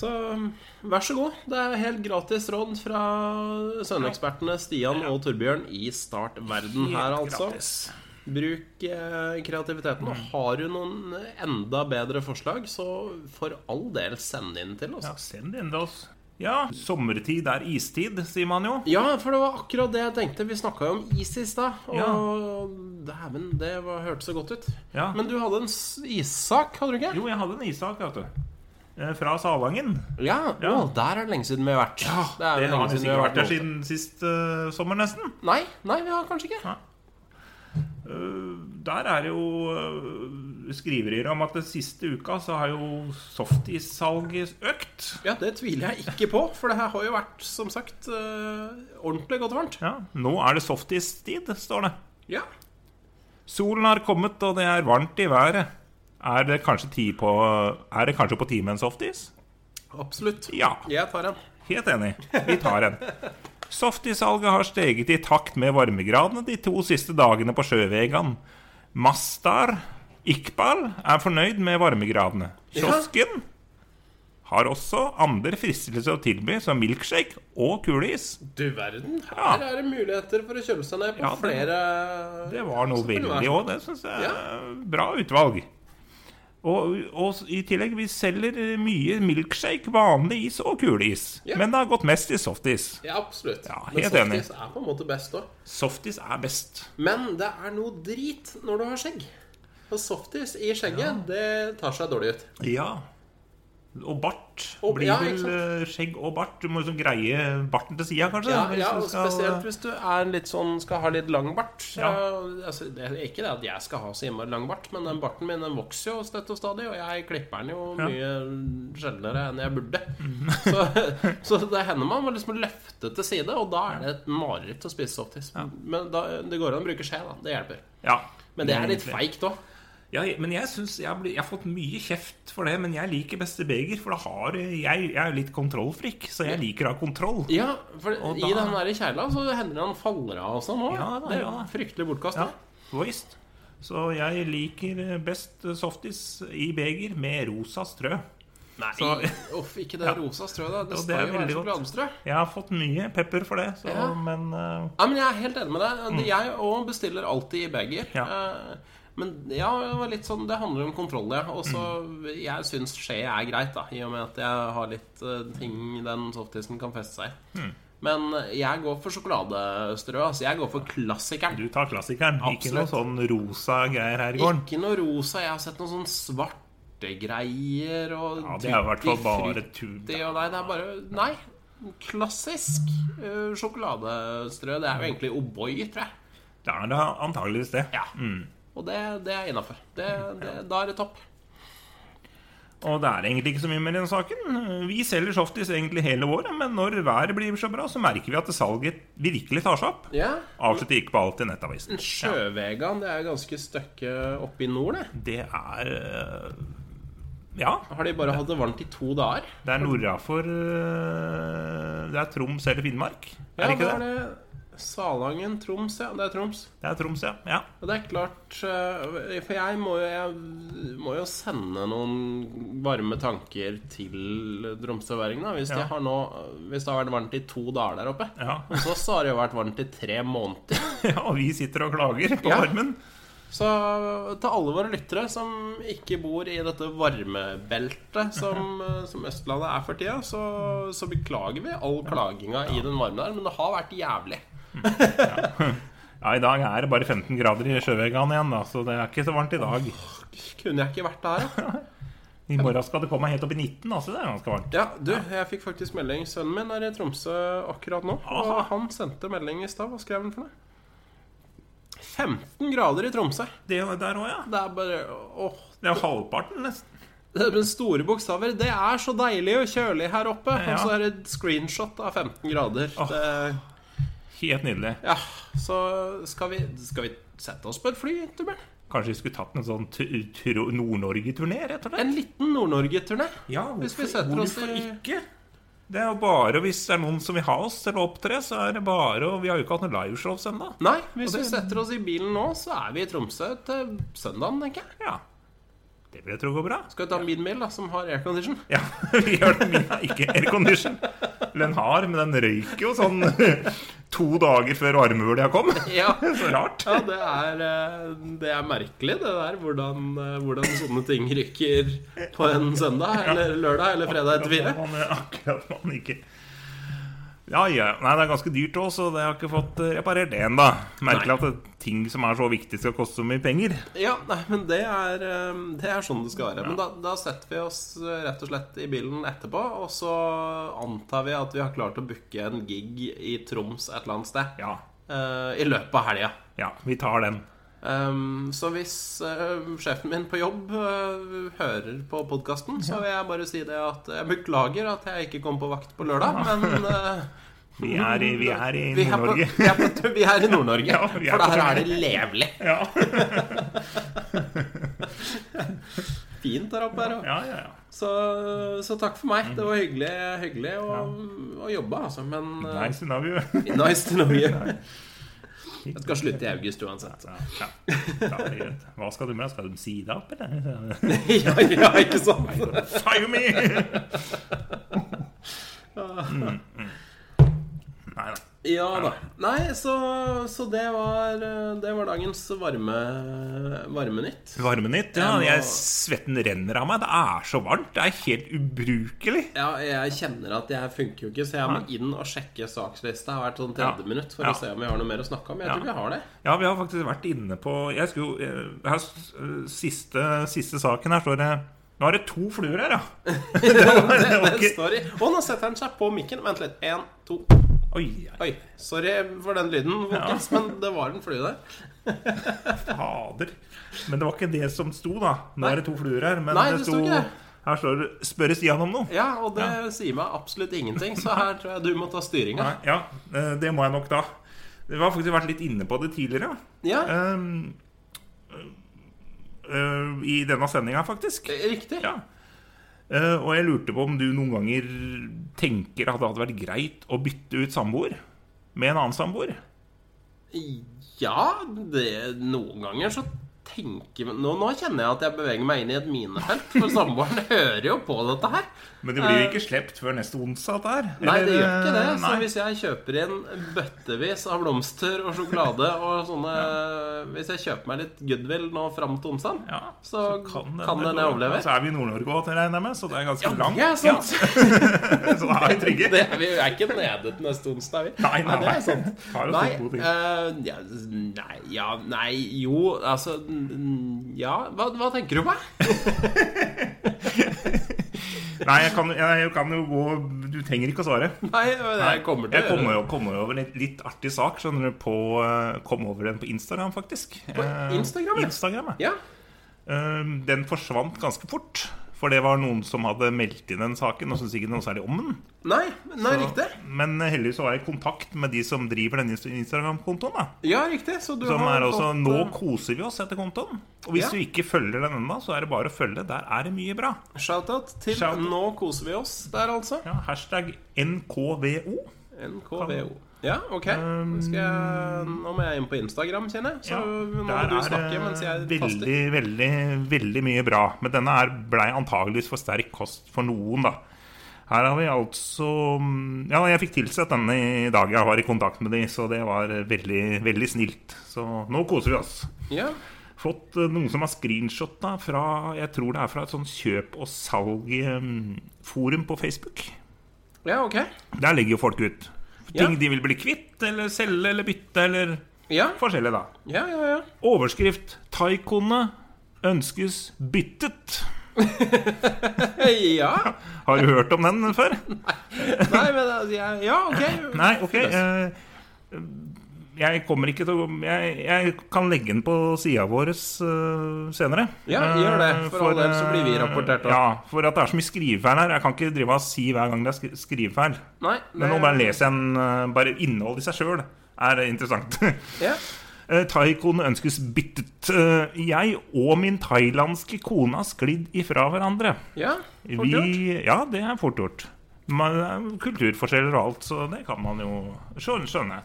Speaker 1: Så um, vær så god. Det er helt gratis råd fra søvnekspertene Stian og Torbjørn i Startverden her,
Speaker 2: Helt
Speaker 1: altså.
Speaker 2: gratis. Mm.
Speaker 1: Bruk eh, kreativiteten. Og har du noen enda bedre forslag, så for all del send inn til oss.
Speaker 2: Ja, send det inn til oss. Ja, sommertid er istid, sier man jo.
Speaker 1: Ja, for det var akkurat det jeg tenkte. Vi snakka jo om is i stad. Og
Speaker 2: Ja.
Speaker 1: dæven, det var, hørtes så godt ut.
Speaker 2: Ja.
Speaker 1: Men du hadde en s- issak, hadde du ikke?
Speaker 2: Jo, jeg hadde en issak, vet du. Eh, Fra Salangen.
Speaker 1: Ja,
Speaker 2: Ja.
Speaker 1: Å, der er det lenge siden vi har vært. det er
Speaker 2: Det
Speaker 1: jo
Speaker 2: har
Speaker 1: lenge
Speaker 2: sikkert
Speaker 1: siden vi har
Speaker 2: vært
Speaker 1: vært
Speaker 2: der
Speaker 1: noe.
Speaker 2: siden sist eh, sommer, nesten.
Speaker 1: Nei, nei, vi har kanskje ikke.
Speaker 2: Der er det jo eh, skriverier om at den siste uka så har jo softissalget økt.
Speaker 1: Ja, det tviler jeg ikke på, for det her har jo vært, som sagt, eh, ordentlig godt varmt.
Speaker 2: Ja, nå er det softistid, står det.
Speaker 1: Ja.
Speaker 2: Solen har kommet, og det er varmt i været. Er det kanskje, tid på, er det kanskje på tide med en softis?
Speaker 1: Absolutt.
Speaker 2: Ja.
Speaker 1: Jeg tar en.
Speaker 2: Helt enig. Vi tar en. Softisalget har steget i takt med varmegradene de to siste dagene på sjøvegan. Mastar Iqbal er fornøyd med varmegradene. Kiosken har også andre fristelser å tilby, som milkshake og kuleis.
Speaker 1: Du verden.
Speaker 2: Ja.
Speaker 1: Her er det muligheter for å kjøle seg ned på
Speaker 2: Ja, det-
Speaker 1: flere
Speaker 2: Det var noe
Speaker 1: Så kan det være
Speaker 2: veldig
Speaker 1: sånn.
Speaker 2: òg. Det syns jeg er bra utvalg. Og, og i tillegg, vi selger eh, mye milkshake, vanlig is og kuleis.
Speaker 1: Ja.
Speaker 2: Men det har gått mest i softis.
Speaker 1: Ja, absolutt.
Speaker 2: Ja,
Speaker 1: Men
Speaker 2: helt
Speaker 1: softis er på en måte best òg.
Speaker 2: Softis er best.
Speaker 1: Men det er noe drit når du har skjegg. Og softis i skjegget, det tar seg dårlig ut.
Speaker 2: Ja. Og bart.
Speaker 1: Og-
Speaker 2: blir
Speaker 1: ja, ikke
Speaker 2: vel
Speaker 1: sant?
Speaker 2: eh, skjegg og bart. Du må liksom greie barten til sida, kanskje.
Speaker 1: Ja,
Speaker 2: hvis
Speaker 1: ja
Speaker 2: du
Speaker 1: og
Speaker 2: skal-
Speaker 1: Spesielt hvis du er litt sånn, skal ha litt lang bart.
Speaker 2: Ja.
Speaker 1: Eh, altså, det er ikke det at jeg skal ha så innmari lang bart, men den barten min den vokser jo støtt og stadig, og jeg klipper den jo mye sjeldnere enn jeg burde.
Speaker 2: Mhm.
Speaker 1: Så, så det hender man må liksom løfte til side, og da er det et mareritt å spise softis. Men da, det går an å bruke skje, da. Det hjelper.
Speaker 2: ja.
Speaker 1: Men det er litt
Speaker 2: egentlig-
Speaker 1: feigt òg.
Speaker 2: Ja, jeg- men jeg synes jeg, blir, jeg har fått mye kjeft for det, men jeg liker beste beger. For da har jeg, jeg er jo litt kontrollfrik, så jeg liker å ha kontroll.
Speaker 1: Ja, for i
Speaker 2: da-
Speaker 1: den der kjegla så hender det han faller av og sånn òg.
Speaker 2: Ja da,
Speaker 1: det er jo
Speaker 2: ja da.
Speaker 1: fryktelig bortkasta.
Speaker 2: Ja, voiced. Så jeg liker best softis i beger med rosa strø.
Speaker 1: Nei,
Speaker 2: Så-
Speaker 1: uff, ikke det
Speaker 2: Ja.
Speaker 1: rosa strøet. da. Det
Speaker 2: Og det
Speaker 1: skal
Speaker 2: er
Speaker 1: jo være så
Speaker 2: veldig godt.
Speaker 1: bladestrø.
Speaker 2: Jeg har fått mye pepper for det, så,
Speaker 1: Ja.
Speaker 2: men eh,
Speaker 1: Ja, men Jeg er helt enig med deg.
Speaker 2: Mm.
Speaker 1: Jeg òg bestiller alltid i beger. Eh, Men ja, det var litt sånn, det handler om kontroll, ja. Og så
Speaker 2: Mm.
Speaker 1: jeg syns skje er greit, da. I og med at jeg har litt eh, ting den softisen kan feste seg i.
Speaker 2: Mm.
Speaker 1: Men jeg går for sjokoladestrø. Altså, jeg går for klassikeren.
Speaker 2: du tar klassikeren. Ikke noe
Speaker 1: Absolutt.
Speaker 2: sånn rosa greier her i gården.
Speaker 1: Ikke noe rosa. Jeg har sett noen sånn svarte greier og
Speaker 2: Ja, det er jo i hvert fall bare
Speaker 1: tutti-frutti
Speaker 2: tull.
Speaker 1: og Nei, det er bare Nei. Klassisk eh, sjokoladestrø. Det er jo egentlig O'boy, tror jeg.
Speaker 2: Det er da antageligvis det.
Speaker 1: Ja. Og det, det er innafor. Det, det, da er det topp.
Speaker 2: Og det er egentlig ikke så mye mer i den saken. Vi selger softis egentlig hele året, men når været blir så bra, så merker vi at salget virkelig tar seg opp.
Speaker 1: Ja.
Speaker 2: Avslutter ikke på alt i Nettavisen.
Speaker 1: Sjøvegan, det er ganske støkke oppe i nord, det.
Speaker 2: Det er øh, Ja,
Speaker 1: Har de bare hatt det varmt i to dager?
Speaker 2: det er nordafor øh, Det er Troms eller Finnmark, er det ikke
Speaker 1: da
Speaker 2: det?
Speaker 1: er det Salangen, Troms, ja. Det er Troms.
Speaker 2: Det er Troms, ja. ja.
Speaker 1: Og det er klart eh, For jeg må jo, jeg må jo sende noen varme tanker til tromsøværingene. da, Hvis, de
Speaker 2: Ja.
Speaker 1: har nå- hvis det har vært varmt i to dager der oppe.
Speaker 2: Ja.
Speaker 1: Og så har det jo vært varmt i tre måneder.
Speaker 2: ja og vi sitter og klager på
Speaker 1: Ja.
Speaker 2: varmen.
Speaker 1: Så til alle våre lyttere som ikke bor i dette varmebeltet som, som Østlandet er for tida, så, så beklager vi all klaginga i den varmen der, men det har vært jævlig.
Speaker 2: Ja, I dag er det bare 15 grader i sjøveggene igjen, da, så det er ikke så varmt i dag.
Speaker 1: Kunne jeg ikke vært der, da?
Speaker 2: I morgen skal det komme helt opp i 19, da, så det er ganske varmt.
Speaker 1: Ja, du, jeg fikk faktisk melding. Sønnen min er i Tromsø akkurat nå. Og
Speaker 2: Aha.
Speaker 1: han sendte melding i stad. Hva skrev han for noe? 15 grader i Tromsø.
Speaker 2: Det der òg, ja.
Speaker 1: Det er bare åh.
Speaker 2: Det er jo halvparten, nesten.
Speaker 1: Det er med store bokstaver. Det er så deilig og kjølig her oppe.
Speaker 2: Ja.
Speaker 1: Og så er det et screenshot av 15 grader.
Speaker 2: Åh.
Speaker 1: Det,
Speaker 2: Helt nydelig.
Speaker 1: ja, så skal vi, skal vi sette oss på et fly, Torbjørn?
Speaker 2: Kanskje vi skulle tatt en sånn tu- tro- Nord-Norge-turné, rett og slett?
Speaker 1: En liten Nord-Norge-turné.
Speaker 2: Ja,
Speaker 1: Hvis vi
Speaker 2: hvorfor,
Speaker 1: setter oss
Speaker 2: hvorfor
Speaker 1: i-
Speaker 2: ikke? Det er jo bare hvis det er noen som vil ha oss til å opptre, så er det bare og Vi har jo ikke hatt noen liveshows ennå.
Speaker 1: Nei, hvis
Speaker 2: Og
Speaker 1: vi
Speaker 2: det-
Speaker 1: setter oss i bilen nå, så er vi i Tromsø til søndagen, tenker jeg.
Speaker 2: Ja. Det vil jeg tro går bra.
Speaker 1: Skal vi ta min bil, da, som har aircondition?
Speaker 2: Ja, vi gjør det. Min er ikke aircondition. Eller Den har, men den røyker jo sånn to dager før varmebølga kom.
Speaker 1: Ja.
Speaker 2: Så rart.
Speaker 1: Ja, det er, eh, det er merkelig, det der. Hvordan, eh, hvordan sånne ting rykker på en søndag eller lørdag eller fredag etter fire.
Speaker 2: Akkurat man- eh, Akkurat man ikke ja, ja. Nei, det er ganske dyrt òg, så det har jeg ikke fått eh, reparert det ennå. Merkelig
Speaker 1: Nei.
Speaker 2: at det, ting som er så viktig, skal koste så mye penger.
Speaker 1: Ja, nei, men det er, eh, det er sånn det skal være. Men da, da setter vi oss eh, rett og slett i bilen etterpå, og så antar vi at vi har klart å booke en gig i Troms et eller annet sted
Speaker 2: Ja,
Speaker 1: eh, i løpet av helga.
Speaker 2: ja vi tar den.
Speaker 1: Ehm, så hvis eh, sjefen min på jobb eh, hører på podkasten, så vil jeg bare si det at jeg beklager at jeg ikke kom på vakt på lørdag, men eh,
Speaker 2: Vi er i, vi er i
Speaker 1: vi, er på,
Speaker 2: Nord-Norge.
Speaker 1: vi, er på, vi er i Nord-Norge,
Speaker 2: Ja, vi
Speaker 1: for
Speaker 2: er på
Speaker 1: der er det levelig.
Speaker 2: Ja.
Speaker 1: Fint der oppe. her også.
Speaker 2: ja, ja, ja.
Speaker 1: Så, så takk for meg. Det var hyggelig, hyggelig å, å jobbe, altså. Men eh,
Speaker 2: Nei, siden har vi jo
Speaker 1: nice to know you. Jeg skal slutte i august uansett.
Speaker 2: ja, ja. Da er det greit. Hva skal du med? Skal du si det opp, eller?
Speaker 1: ja, ja, ikke sant?
Speaker 2: Fire me! Mm, mm. Nei da.
Speaker 1: Ja da. Nei, så, så det var eh, Det var dagens varme varmenytt.
Speaker 2: Varmenytt? Ja, jeg, svetten renner av meg. Det er så varmt. Det er helt ubrukelig.
Speaker 1: Ja, jeg kjenner at jeg funker jo ikke, så jeg må inn og sjekke sakslista hvert sånn 30
Speaker 2: Ja.
Speaker 1: minutt for
Speaker 2: Ja.
Speaker 1: å se om vi har noe mer å snakke om. Jeg
Speaker 2: Ja.
Speaker 1: tror vi har det.
Speaker 2: Ja, vi har faktisk vært inne på Jeg skulle jo eh, her, s- eh, siste, siste saken her står det Nå er det to fluer her, ja. det var, det var
Speaker 1: det
Speaker 2: ikke,
Speaker 1: står i Å, nå setter han seg på mikken. Vent litt. Én, to
Speaker 2: oi, ja,
Speaker 1: Oi. Sorry for den lyden, folkens, men det var en flue der.
Speaker 2: fader. Men det var ikke det som sto, da. Nå er det to fluer her. Men
Speaker 1: Nei,
Speaker 2: det
Speaker 1: det
Speaker 2: sto
Speaker 1: sto ikke det.
Speaker 2: Her står det 'Spørre Stian om noe'.
Speaker 1: Ja, og det sier meg absolutt ingenting, så her tror jeg du må ta styringa.
Speaker 2: Nei, ja, eh, det må jeg nok da. Vi har faktisk vært litt inne på det tidligere.
Speaker 1: Ja,
Speaker 2: Ehm, eh, I denne sendinga, faktisk.
Speaker 1: riktig.
Speaker 2: Ja. Eh, og jeg lurte på om du noen ganger tenker at det hadde vært greit å bytte ut samboer med en annen samboer.
Speaker 1: Ja, det, noen ganger så tenker man nå, nå kjenner jeg at jeg beveger meg inn i et minefelt, for samboeren hører jo på dette her.
Speaker 2: Men det blir jo ikke slept før neste onsdag, dette her.
Speaker 1: Eh. Nei, det gjør
Speaker 2: Eller,
Speaker 1: ikke det.
Speaker 2: eh,
Speaker 1: Så
Speaker 2: nei.
Speaker 1: hvis jeg kjøper inn bøttevis av blomster og sjokolade og sånne Hvis jeg kjøper meg litt goodwill nå fram til onsdag,
Speaker 2: ja,
Speaker 1: så, kan
Speaker 2: det-
Speaker 1: den jeg
Speaker 2: det-
Speaker 1: overleve.
Speaker 2: Så er vi i Nord-Norge òg, regner jeg med, så det er ganske langt.
Speaker 1: Ja, sant.
Speaker 2: Ja, så da er vi trygge.
Speaker 1: Det, vi er ikke nede til neste onsdag, vi.
Speaker 2: Nei, nei,
Speaker 1: det
Speaker 2: nei.
Speaker 1: er sant.
Speaker 2: Har jo sånn
Speaker 1: Nei,
Speaker 2: to gode ting.
Speaker 1: eh, ja, nei, ja, nei, jo, altså mm, Ja, hva, hva tenker du på?
Speaker 2: Nei, jeg kan, jeg, jeg kan jo gå Du trenger ikke å svare.
Speaker 1: Nei, jeg kommer til
Speaker 2: Jeg
Speaker 1: å gjøre det.
Speaker 2: kommer jo kommer over en litt artig sak, skjønner du, på, eh, kom over den på Instagram, faktisk. På
Speaker 1: Instagram, ja.
Speaker 2: Instagram, ja.
Speaker 1: Ja.
Speaker 2: Eh, Den forsvant ganske fort. For det var noen som hadde meldt inn den saken og syntes ikke noe særlig om den.
Speaker 1: Nei, nei, riktig.
Speaker 2: Men eh, heldigvis så var jeg i kontakt med de som driver den Inst- Instagram-kontoen. da
Speaker 1: Ja, riktig. Så du
Speaker 2: Som
Speaker 1: har
Speaker 2: er også
Speaker 1: fått,
Speaker 2: 'Nå
Speaker 1: eh,
Speaker 2: koser vi oss' etter kontoen. Og hvis
Speaker 1: Ja.
Speaker 2: du ikke følger den ennå, så er det bare å følge. Der er det mye bra.
Speaker 1: eh, Shoutout til
Speaker 2: Shoutout.
Speaker 1: Nå koser vi oss der, altså.
Speaker 2: Ja, hashtag NKVO.
Speaker 1: NKVO. Ja, OK. Skal jeg, nå må jeg inn på Instagram, kjenner jeg. Så
Speaker 2: Ehm,
Speaker 1: nå
Speaker 2: Ja,
Speaker 1: må
Speaker 2: der
Speaker 1: du
Speaker 2: er
Speaker 1: snakke mens jeg
Speaker 2: det
Speaker 1: taster.
Speaker 2: veldig, veldig, veldig mye bra. Men denne her blei antageligvis for sterk kost for noen, da. Her har vi altså Ja, jeg fikk tilsett denne i dag jeg var i kontakt med de, så det var veldig, veldig snilt. Så nå koser vi oss.
Speaker 1: Ja.
Speaker 2: fått eh, noen som har screenshotta fra Jeg tror det er fra et sånn kjøp og salg-forum på Facebook.
Speaker 1: Ja, ok.
Speaker 2: Der legger jo folk ut
Speaker 1: Ja.
Speaker 2: ting de vil bli kvitt, eller selge, eller bytte, eller
Speaker 1: Ja,
Speaker 2: forskjellig, da.
Speaker 1: ja, ja. ja.
Speaker 2: Overskrift 'Taikoene ønskes byttet'.
Speaker 1: Hei, ja.
Speaker 2: Har du hørt om den før?
Speaker 1: Nei, men altså, jeg, Ja, ok.
Speaker 2: Nei, ok. eh, jeg kommer ikke til å Jeg, jeg kan legge den på sida vår eh, senere.
Speaker 1: Ja, gjør det.
Speaker 2: Eh,
Speaker 1: For all del så
Speaker 2: eh,
Speaker 1: blir vi rapportert også.
Speaker 2: Ja, for at det er så mye skrivefeil her. Jeg kan ikke drive og si hver gang det er skri- skrivefeil.
Speaker 1: Nei,
Speaker 2: Men nå bare leser jeg en eh, Bare innholdet i seg sjøl er interessant.
Speaker 1: Ja.
Speaker 2: Eh, Thai-kone ønskes byttet. Eh, Jeg og min thailandske kone har sklidd ifra hverandre.
Speaker 1: ja. for kult.
Speaker 2: Vi, ja, det er fort gjort. Man, det er kulturforskjeller og alt, så det kan man jo skjønne. skjønne.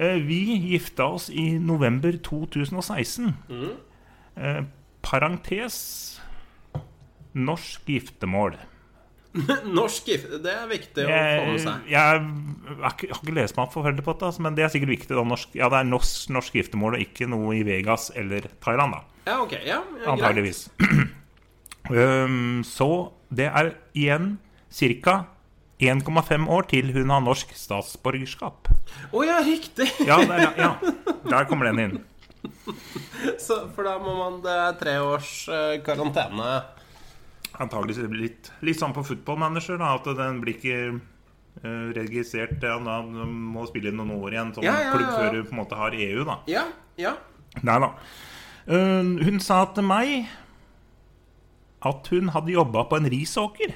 Speaker 2: Eh, Vi gifta oss i november 2016. Eh, Parentes norsk giftermål.
Speaker 1: Norsk gift, det er viktig å få
Speaker 2: Jeg,
Speaker 1: med seg.
Speaker 2: Eh, jeg har ikke har ikke lest meg opp forferdelig på det, altså, men det er sikkert viktig. Da, norsk, ja, det er norsk, norsk giftermål og ikke noe i Vegas eller Thailand, da.
Speaker 1: Ja, ok. Ja, ja, greit.
Speaker 2: Antageligvis. Ehm, så det er igjen ca. 1,5 år til hun har norsk statsborgerskap.
Speaker 1: Å ja, riktig!
Speaker 2: Ja, der, ja, der kommer den inn.
Speaker 1: Så, for da må man Det er tre års eh, karantene.
Speaker 2: Antakeligvis blir det litt, litt sånn på Football Manager, da, at den blir ikke eh, registrert ja, da må spille inn noen år igjen som
Speaker 1: Ja, ja, ja,
Speaker 2: klubb
Speaker 1: ja.
Speaker 2: før du på en måte har EU, da.
Speaker 1: Ja, ja.
Speaker 2: Nei da. Ehm, hun sa til meg at hun hadde jobba på en risåker,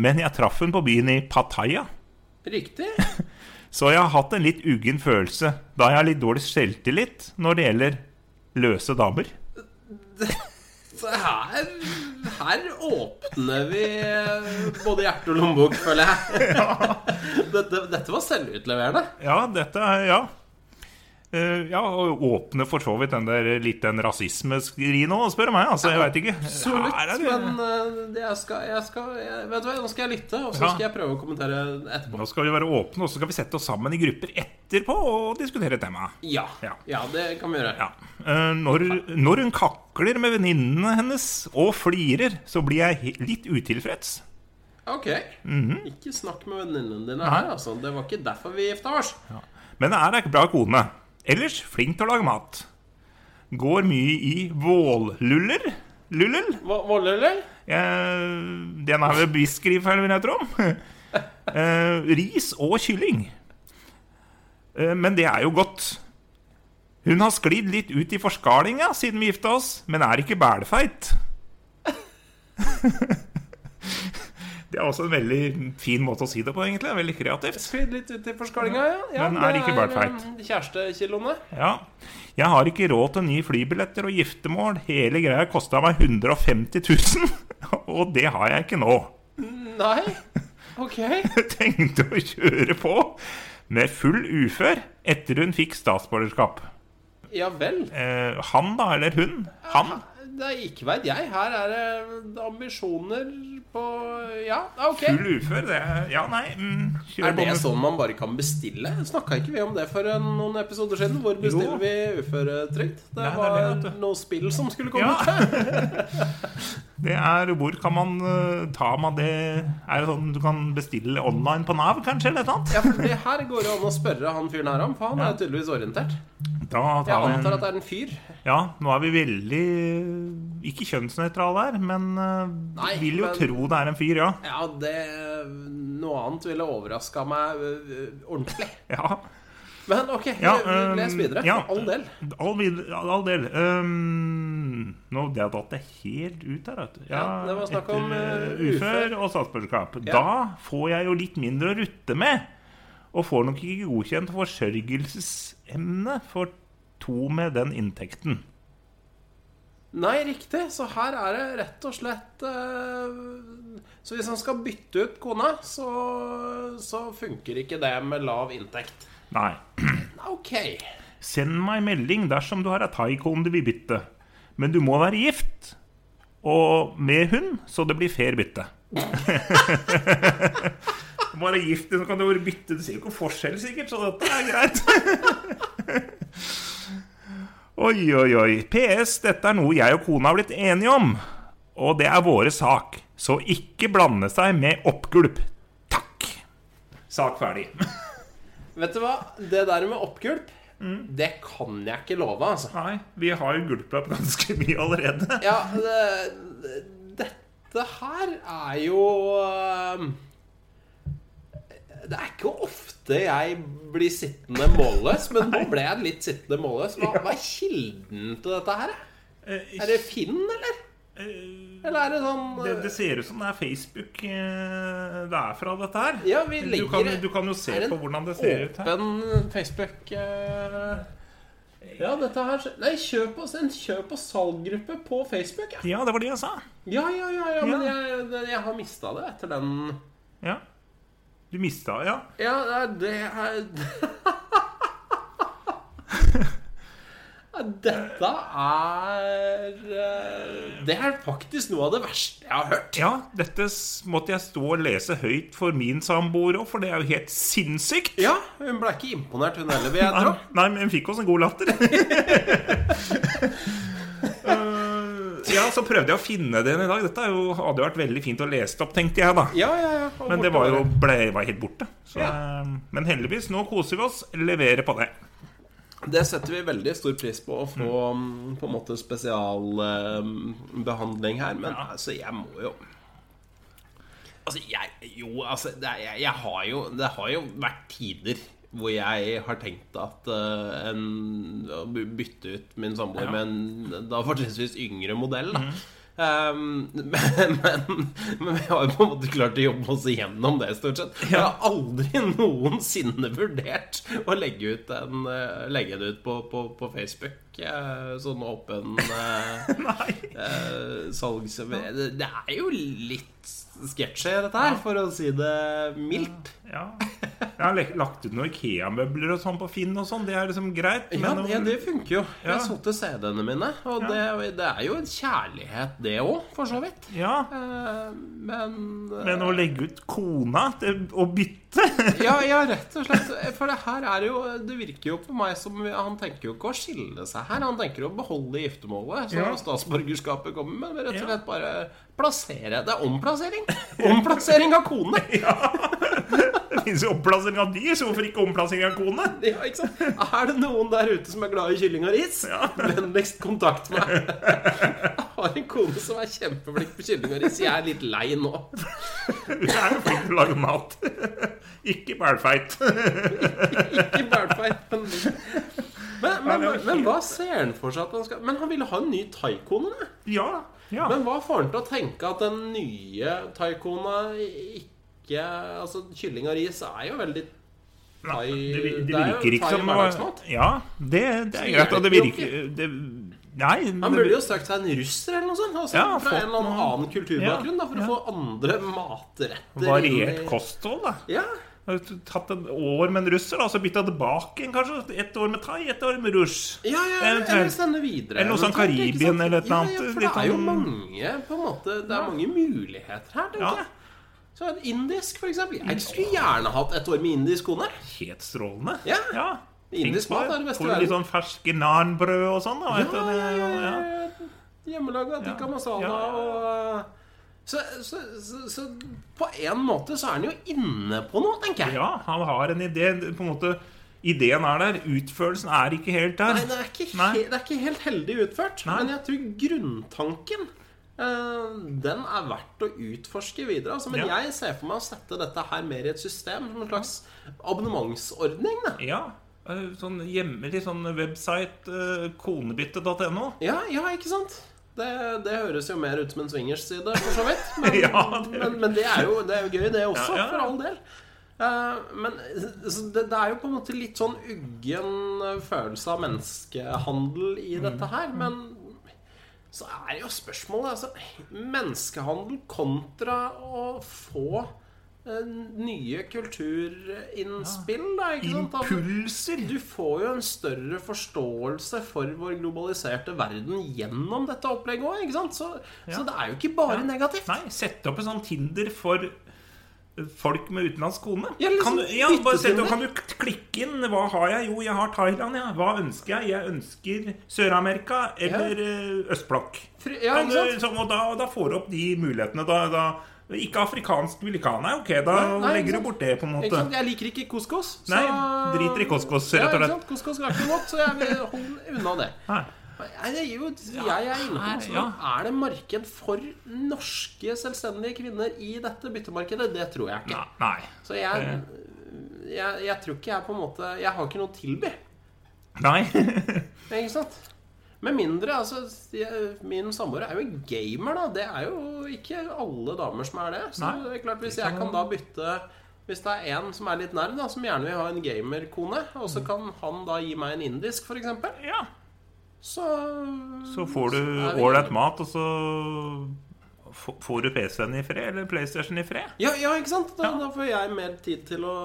Speaker 2: men jeg traff hun på byen i Pattaya.
Speaker 1: Riktig.
Speaker 2: Så jeg har hatt en litt uggen følelse, da jeg har litt dårlig selvtillit når det gjelder løse damer.
Speaker 1: Så her, her åpner vi eh, både hjerte og lommebok, føler jeg. Dette, dette var selvutleverende.
Speaker 2: Ja, dette er Ja. Eh, ja, og åpne for så vidt den der litt den rasismeskri nå, spør du meg. Altså, jeg veit ikke. Her er
Speaker 1: Absolutt.
Speaker 2: det-
Speaker 1: Men eh, det- jeg skal, jeg skal jeg, Vet du hva, nå skal jeg lytte, og så
Speaker 2: Ja.
Speaker 1: skal jeg prøve å kommentere etterpå.
Speaker 2: Nå skal vi være åpne, og så skal vi sette oss sammen i grupper etterpå og diskutere temaet.
Speaker 1: Ja.
Speaker 2: Ja.
Speaker 1: ja, det kan vi gjøre.
Speaker 2: Ja. Eh, når, når hun kakler med venninnene hennes og flirer, så blir jeg he- litt utilfreds.
Speaker 1: Ok. Ikke snakk med venninnene dine her,
Speaker 2: Mhm. Nei.
Speaker 1: altså. Det var ikke derfor vi gifta oss.
Speaker 2: Men er ei bra kone. Ellers flink til å lage mat. Går mye i vålluller. Lullel?
Speaker 1: Hva- Volle, eller?
Speaker 2: Eh, den er vel biskriffeil, vil jeg tro. Eh, ris og kylling. Eh, men det er jo godt. Hun har sklidd litt ut i forskalinga siden vi gifta oss, men er ikke bælfeit. det er også en veldig fin måte å si det på, egentlig. Veldig kreativt.
Speaker 1: Sklidd litt ut i forskalinga, ja. ja.
Speaker 2: Men er
Speaker 1: det
Speaker 2: ikke bælfeit.
Speaker 1: eh, Kjærestekiloene.
Speaker 2: Ja. Jeg har ikke råd til nye flybilletter og giftermål. Hele greia kosta meg 150 000, og det har jeg ikke nå.
Speaker 1: Nei? Ok.
Speaker 2: Jeg tenkte å kjøre på med full ufør etter hun fikk statsborgerskap.
Speaker 1: Ja vel.
Speaker 2: Eh, han, da, eller hun? Han?
Speaker 1: Det er ikke veit jeg. Her er det ambisjoner på Ja, ok.
Speaker 2: Full ufør? Det er, ja, nei mm, kjør
Speaker 1: Er
Speaker 2: på
Speaker 1: det
Speaker 2: med-
Speaker 1: sånn man bare kan bestille? Snakka ikke vi om det for en, noen episoder siden? Hvor bestiller
Speaker 2: Jo.
Speaker 1: vi uføretrygd? Det
Speaker 2: Nei, det er
Speaker 1: var
Speaker 2: det, vet du.
Speaker 1: noe spill som skulle komme
Speaker 2: Ja.
Speaker 1: ut her.
Speaker 2: Det er Hvor kan man eh, ta man det Er det sånn du kan bestille online på Nav, kanskje? Eller noe sånt?
Speaker 1: Ja, for det her går det an å spørre han fyren her om, for han er tydeligvis orientert.
Speaker 2: Da
Speaker 1: Jeg
Speaker 2: tar vi en-
Speaker 1: antar at det er en fyr.
Speaker 2: Ja, nå er vi veldig eh, Ikke kjønnsnøytrale her, men uh,
Speaker 1: Nei,
Speaker 2: vil jo
Speaker 1: men-
Speaker 2: tro det er en fyr, ja.
Speaker 1: Ja, det Noe annet ville overraska meg øh, ordentlig.
Speaker 2: ja.
Speaker 1: Men ok,
Speaker 2: Ja,
Speaker 1: vi- vi les
Speaker 2: øhm,
Speaker 1: videre.
Speaker 2: ja.
Speaker 1: For all del.
Speaker 2: All, vid- all del. Um, nå det har datt det helt ut her, vet du.
Speaker 1: Ja, det var snakk
Speaker 2: etter,
Speaker 1: om, eh,
Speaker 2: eh, ufør og statsborgerskap.
Speaker 1: Ja.
Speaker 2: Da får jeg jo litt mindre å rutte med. Og får nok ikke godkjent forsørgelsesemne for to med den inntekten.
Speaker 1: Nei, riktig. Så her er det rett og slett eh, Så hvis han skal bytte ut kona, så, så funker ikke det med lav inntekt.
Speaker 2: Nei.
Speaker 1: Ok.
Speaker 2: Send meg melding dersom du har ei thaikone du vil bytte. Men du må være gift og med hun, så det blir fair bytte. du må være gift, så kan du bare bytte. Du ser jo ikke forskjell, sikkert, så dette er greit. Oi, oi, oi. PS, dette er noe jeg og kona har blitt enige om. Og det er våre sak. Så ikke blande seg med oppgulp. Takk. Sak ferdig.
Speaker 1: Vet du hva? Det der med oppgulp,
Speaker 2: Mm.
Speaker 1: det kan jeg ikke love, altså.
Speaker 2: Nei, vi har jo gulpa på ganske mye allerede.
Speaker 1: Ja, det, dette her er jo ehm, Det er ikke ofte jeg blir sittende målløs, men nå ble jeg litt sittende målløs. Hva, hva er kilden til dette her?
Speaker 2: Eh,
Speaker 1: Er det Finn, eller?
Speaker 2: eh,
Speaker 1: Eller er det sånn
Speaker 2: Det, det ser ut som det er Facebook eh, det er fra, dette her.
Speaker 1: uh, Ja, vi
Speaker 2: Du
Speaker 1: legger
Speaker 2: kan, du kan jo se
Speaker 1: er en
Speaker 2: på hvordan det ser ut her.
Speaker 1: Åpen Facebook eh, Ja, dette her Nei, kjøp oss en kjøp- og salggruppe på Facebook. Ja,
Speaker 2: Ja, det var det jeg sa.
Speaker 1: ja, ja, ja, ja men
Speaker 2: Ja.
Speaker 1: jeg, jeg har mista det etter den
Speaker 2: Ja. Du mista Ja.
Speaker 1: Ja, nei, det er Ja, Dette er eh, Det er faktisk noe av det verste jeg har hørt.
Speaker 2: ja, dette s- måtte jeg stå og lese høyt for min samboer òg, for det er jo helt sinnssykt.
Speaker 1: Ja, hun ble ikke imponert, hun heller, vil jeg tro.
Speaker 2: Nei, nei, men hun fikk oss en god latter. Eh, ja, så prøvde jeg å finne den i dag. Dette er jo, hadde jo vært veldig fint å lese det opp, tenkte jeg da.
Speaker 1: Ja, ja, ja. og
Speaker 2: Men det
Speaker 1: borte
Speaker 2: var jo
Speaker 1: det.
Speaker 2: ble, var helt borte. Så,
Speaker 1: Ja.
Speaker 2: eh, men heldigvis, nå koser vi oss. Leverer på det.
Speaker 1: Det setter vi veldig stor pris på, å få mm, på en måte spesialbehandling her. Men altså, jeg må jo Altså, jeg Jo, altså, det, er- jeg, jeg har jo Det har jo vært tider hvor jeg har tenkt at eh, en, å by- bytte ut min samboer
Speaker 2: Ja.
Speaker 1: med en da fortrinnsvis yngre modell, da. Um, men, men, men vi har jo på en måte klart å jobbe oss igjennom det, stort sett. Jeg har aldri noensinne vurdert å legge, ut en, eh, legge det ut på, på, på Facebook. eh, Sånn åpen eh,
Speaker 2: Nei.
Speaker 1: eh, salgs... Det, det er jo litt sketsjy, dette her, for å si det mildt.
Speaker 2: Ja. Jeg har le- lagt ut noen Ikea-møbler og sånn på Finn og sånn. Det er liksom greit.
Speaker 1: Ja,
Speaker 2: Men
Speaker 1: ja, det funker jo.
Speaker 2: Ja.
Speaker 1: Jeg solgte CD-ene mine, og det, det er jo en kjærlighet, det òg, for så vidt.
Speaker 2: ja.
Speaker 1: Eh, Men eh,
Speaker 2: Men å legge ut kona til å bytte
Speaker 1: ja, ja, rett og slett. For det her er jo Det virker jo på meg som Han tenker jo ikke å skille seg her. Han tenker å beholde giftermålet. Så
Speaker 2: Ja.
Speaker 1: statsborgerskapet kommer, men rett
Speaker 2: Ja.
Speaker 1: og slett bare plassere Det er omplassering! Omplassering av kone!
Speaker 2: Det fins jo omplassering av dyr, så hvorfor ikke omplassering av kone?
Speaker 1: Ja, ikke sant? Er det noen der ute som er glad i kylling og ris? Vennligst kontakt meg. Jeg har en kone som er kjempeflink på kylling og ris. Jeg er litt lei nå.
Speaker 2: Hun er jo flink til å lage mat. Ikke bælfeit.
Speaker 1: Ikke bælfeil, men men, men, men, men hva ser han for seg at han skal Men han ville ha en ny taikone, da.
Speaker 2: Ja. ja.
Speaker 1: Men hva får han til å tenke at den nye taikona ikke Altså, kylling og ris er jo veldig thai
Speaker 2: Det, vi-
Speaker 1: det
Speaker 2: det
Speaker 1: er jo
Speaker 2: virker ikke
Speaker 1: thai
Speaker 2: som
Speaker 1: hverdagsmat.
Speaker 2: Ja, det, det er
Speaker 1: Så
Speaker 2: greit. Og det
Speaker 1: hjelper jo
Speaker 2: virker det, Nei.
Speaker 1: Han
Speaker 2: det-
Speaker 1: burde jo søkt seg en russer eller noe sånt. Altså,
Speaker 2: Ja,
Speaker 1: fra
Speaker 2: fått
Speaker 1: en eller annen,
Speaker 2: noe-
Speaker 1: annen kulturbakgrunn, da, for
Speaker 2: ja.
Speaker 1: å få andre matretter.
Speaker 2: Variert
Speaker 1: inn i-
Speaker 2: kosthold, da.
Speaker 1: Ja.
Speaker 2: Har du Tatt et år med en russer, da, og så bytta tilbake igjen, kanskje. Ett år med thai, ett år med russ.
Speaker 1: Ja, ja,
Speaker 2: Eventuelt.
Speaker 1: eller sende videre.
Speaker 2: Eller noe sånn
Speaker 1: eller noe sånt, ikke
Speaker 2: Karibien
Speaker 1: sant?
Speaker 2: eller et eller annet,
Speaker 1: Ja, ja, for
Speaker 2: litt
Speaker 1: det er jo
Speaker 2: sånn-
Speaker 1: mange på en måte, Det er mange muligheter her, tenker
Speaker 2: Ja.
Speaker 1: jeg. Så en Indisk, for eksempel. Jeg skulle gjerne hatt et år med indisk kone.
Speaker 2: Helt strålende.
Speaker 1: Ja.
Speaker 2: ja.
Speaker 1: Indisk
Speaker 2: Tenk på
Speaker 1: mat er det beste i
Speaker 2: Får du litt
Speaker 1: verden.
Speaker 2: sånn ferske nanbrød og sånn, da. vet du,
Speaker 1: Ja,
Speaker 2: det-
Speaker 1: ja, ja, ja,
Speaker 2: ja.
Speaker 1: ja. Hjemmelaga tikka
Speaker 2: Ja.
Speaker 1: masala
Speaker 2: Ja, ja,
Speaker 1: og eh, så, så, så, så på en måte så er han jo inne på noe, tenker jeg.
Speaker 2: Ja, han har en idé. På en måte, ideen er der, utførelsen er ikke helt der.
Speaker 1: Nei, det er ikke,
Speaker 2: Nei.
Speaker 1: he, det er ikke helt heldig utført.
Speaker 2: Nei.
Speaker 1: Men jeg tror grunntanken eh, den er verdt å utforske videre. Altså, men
Speaker 2: Ja.
Speaker 1: jeg ser for meg å sette dette her mer i et system, som en slags abonnementsordning. Da.
Speaker 2: Ja, eh, sånn hjemmelig sånn website eh, konebytte.no.
Speaker 1: Ja, ja, ikke sant? Det, det høres jo mer ut som en swingers side, for så vidt. Men,
Speaker 2: Ja, det-
Speaker 1: men, men det, er jo, det er jo gøy, det også,
Speaker 2: Ja, ja, ja.
Speaker 1: for all del. Eh, men så det, det er jo på en måte litt sånn uggen eh, følelse av menneskehandel i
Speaker 2: Mm.
Speaker 1: dette her. Men så er jo spørsmålet altså Menneskehandel kontra å få eh, nye kulturinnspill, da, ikke sant? Altså,
Speaker 2: Impulser.
Speaker 1: du får jo en større forståelse for vår globaliserte verden gjennom dette opplegget òg, ikke sant? Så, så det er jo ikke bare negativt.
Speaker 2: Nei, sette opp en sånn Tinder for folk med utenlandsk kone.
Speaker 1: Ja, liksom
Speaker 2: kan, du, ja,
Speaker 1: bytte
Speaker 2: bare sett,
Speaker 1: til det.
Speaker 2: kan du k- klikke inn Hva har jeg? Jo, jeg har Thailand, ja. Hva ønsker jeg? Jeg ønsker Sør-Amerika eller eh, østblokk.
Speaker 1: Fri- ja, ikke
Speaker 2: Kan du,
Speaker 1: sant?
Speaker 2: liksom, og da, da får du opp de mulighetene. Da, da, ikke afrikansk vil ikke ha. Nei, ok, da
Speaker 1: Nei, nei, ikke
Speaker 2: legger
Speaker 1: sant?
Speaker 2: du bort det, på en
Speaker 1: Ikke
Speaker 2: måte.
Speaker 1: sant? Jeg liker ikke couscous. så-
Speaker 2: Nei, driter i couscous, rett og
Speaker 1: Ja, ikke
Speaker 2: slett.
Speaker 1: sant? Couscous er ikke noe godt, så jeg vil holde unna det.
Speaker 2: Nei.
Speaker 1: Nei, det er jo, jeg er inne på
Speaker 2: her,
Speaker 1: altså,
Speaker 2: ja.
Speaker 1: Er det marked for norske selvstendige kvinner i dette byttemarkedet? Det tror jeg ikke.
Speaker 2: Nei.
Speaker 1: Så jeg, jeg, jeg tror ikke jeg på en måte Jeg har ikke noe å tilby.
Speaker 2: Nei.
Speaker 1: Ikke sant? Med mindre altså, jeg, Min samboer er jo en gamer, da. Det er jo ikke alle damer som er det. Så
Speaker 2: Nei.
Speaker 1: det er klart, hvis jeg kan da bytte Hvis det er en som er litt nerd, da, som gjerne vil ha en gamerkone, og så kan han da gi meg en indisk, for eksempel
Speaker 2: Ja.
Speaker 1: så
Speaker 2: Så får du
Speaker 1: er vi-
Speaker 2: ålreit mat, og så f- får du PC-en i fred, eller PlayStation i fred.
Speaker 1: Ja, ja, ikke sant? Da,
Speaker 2: Ja.
Speaker 1: da får jeg mer tid til å,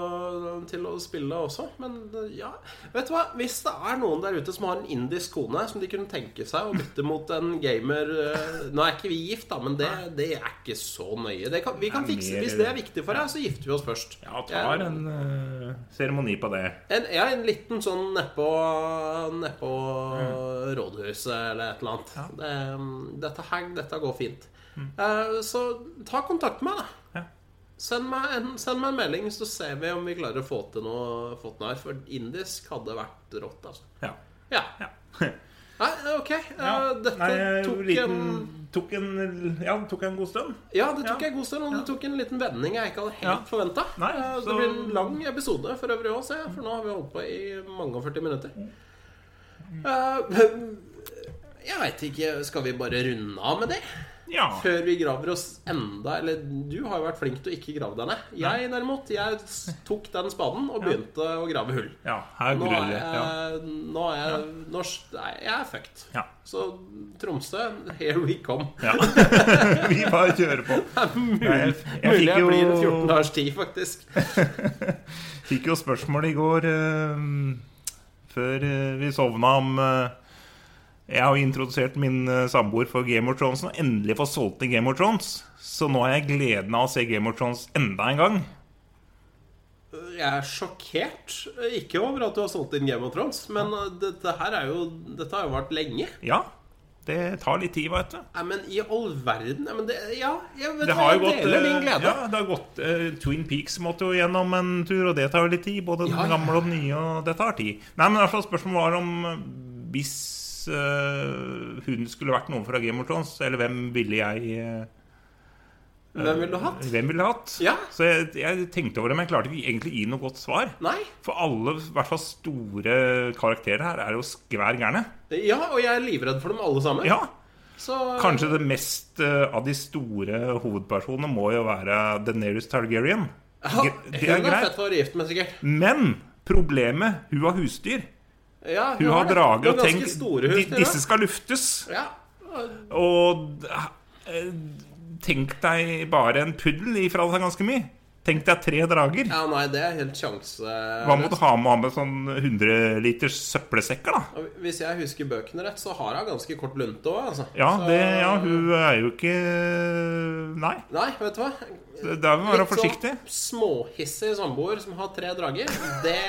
Speaker 1: til å spille også. Men ja Vet du hva? Hvis det er noen der ute som har en indisk kone som de kunne tenke seg å bytte mot en gamer eh, Nå er ikke vi gift, da, men det, det er ikke så nøye. Det kan, vi kan
Speaker 2: Det er
Speaker 1: fikse
Speaker 2: mer-
Speaker 1: Hvis det er viktig for deg, så gifter vi oss først.
Speaker 2: Ja, tar en eh, seremoni på det.
Speaker 1: En, ja, en liten sånn nedpå ned på
Speaker 2: Mm.
Speaker 1: rådhuset eller et eller annet. Det, mm, dette, her, dette går fint. Eh, så ta kontakt med meg, da.
Speaker 2: Mm. Ja.
Speaker 1: Send, meg en, send meg en melding, så ser vi om vi klarer å få til noe, få til noe her. For indisk hadde vært rått, altså.
Speaker 2: Ja.
Speaker 1: Ja.
Speaker 2: ja.
Speaker 1: Nei, ok. Eh,
Speaker 2: Ja.
Speaker 1: Dette
Speaker 2: Nei, eh,
Speaker 1: tok
Speaker 2: liten,
Speaker 1: en
Speaker 2: tok en Ja, det tok en god stund.
Speaker 1: Ja, det tok
Speaker 2: Ja.
Speaker 1: en god stund, og det tok en liten vending jeg ikke hadde helt
Speaker 2: Ja.
Speaker 1: forventa.
Speaker 2: Nei,
Speaker 1: Det
Speaker 2: så-
Speaker 1: blir en lang episode for øvrig òg, ser jeg, for nå har vi holdt på i mange og 40 minutter.
Speaker 2: Mm.
Speaker 1: Eh, jeg veit ikke Skal vi bare runde av med det?
Speaker 2: Ja.
Speaker 1: Før vi graver oss enda Eller du har jo vært flink til å ikke grave deg ned. Jeg derimot, jeg s- tok den spaden og begynte å grave hull.
Speaker 2: ja her
Speaker 1: Nå
Speaker 2: gror
Speaker 1: er
Speaker 2: det. Ja.
Speaker 1: jeg, nå er jeg, norsk, nei, jeg er fucked.
Speaker 2: Ja.
Speaker 1: Så Tromsø, here we come.
Speaker 2: ja. Vi bare kjører på. Jeg, jeg
Speaker 1: Mulig
Speaker 2: fikk
Speaker 1: jeg blir
Speaker 2: jo
Speaker 1: 14 dagers tid, faktisk.
Speaker 2: Fikk jo spørsmål i går eh, før eh, vi sovna om eh, Jeg har jo introdusert min eh, samboer for Game of Thrones og endelig fått solgt inn Game of Thrones. Så nå har jeg gleden av å se Game of Thrones enda en gang.
Speaker 1: Jeg er sjokkert. Ikke over at du har solgt inn Game of Thrones, men dette her er jo Dette har jo vart lenge.
Speaker 2: Ja, det tar litt tid, veit du.
Speaker 1: Nei, men i all verden Nei, men det, Ja, jeg vet
Speaker 2: Det
Speaker 1: hva,
Speaker 2: har jo
Speaker 1: jeg
Speaker 2: gått,
Speaker 1: deler din
Speaker 2: eh,
Speaker 1: glede.
Speaker 2: ja, det har gått eh, Twin Peaks måtte jo gjennom en tur, og det tar jo litt tid. Både
Speaker 1: Ja, ja.
Speaker 2: den gamle og den nye, og det tar tid. Nei, men i hvert fall spørsmålet var om eh, hvis eh, hun skulle vært noen fra Game of Thrones, eller hvem ville jeg eh,
Speaker 1: Hvem ville du hatt?
Speaker 2: Hvem ville hatt?
Speaker 1: Ja.
Speaker 2: Så jeg, jeg tenkte over det, men jeg klarte ikke egentlig gi noe godt svar.
Speaker 1: Nei?
Speaker 2: For alle, i hvert fall store karakterer her, er jo skvær gærne.
Speaker 1: Ja, og jeg er livredd for dem alle sammen.
Speaker 2: Ja.
Speaker 1: Så
Speaker 2: Kanskje det mest eh, av de store hovedpersonene må jo være Daenerys Targaryen.
Speaker 1: Ja,
Speaker 2: Gre- Det er
Speaker 1: Hun er fett
Speaker 2: greit.
Speaker 1: å være gift med, sikkert.
Speaker 2: Men problemet hun har husdyr.
Speaker 1: Ja,
Speaker 2: Hun har
Speaker 1: det.
Speaker 2: drager
Speaker 1: Hun
Speaker 2: og
Speaker 1: har
Speaker 2: tenkt
Speaker 1: ganske store hus,
Speaker 2: "Di-
Speaker 1: til,
Speaker 2: disse skal luftes.
Speaker 1: da. Ja.
Speaker 2: Og eh, tenk deg bare en puddel ifra seg ganske mye. Tenk deg tre drager.
Speaker 1: ja, nei, det er helt sjanse...
Speaker 2: Hva må du ha med, ha med sånn 100 liters søppelsekker, da?
Speaker 1: Og Hvis jeg husker bøkene rett, så har hun ganske kort lunte òg, altså.
Speaker 2: Ja,
Speaker 1: Så-
Speaker 2: det, ja, hun er jo ikke Nei.
Speaker 1: Nei, vet du hva?
Speaker 2: Det det er vel å være
Speaker 1: Litt
Speaker 2: forsiktig.
Speaker 1: sånn småhissig samboer som har tre drager, det,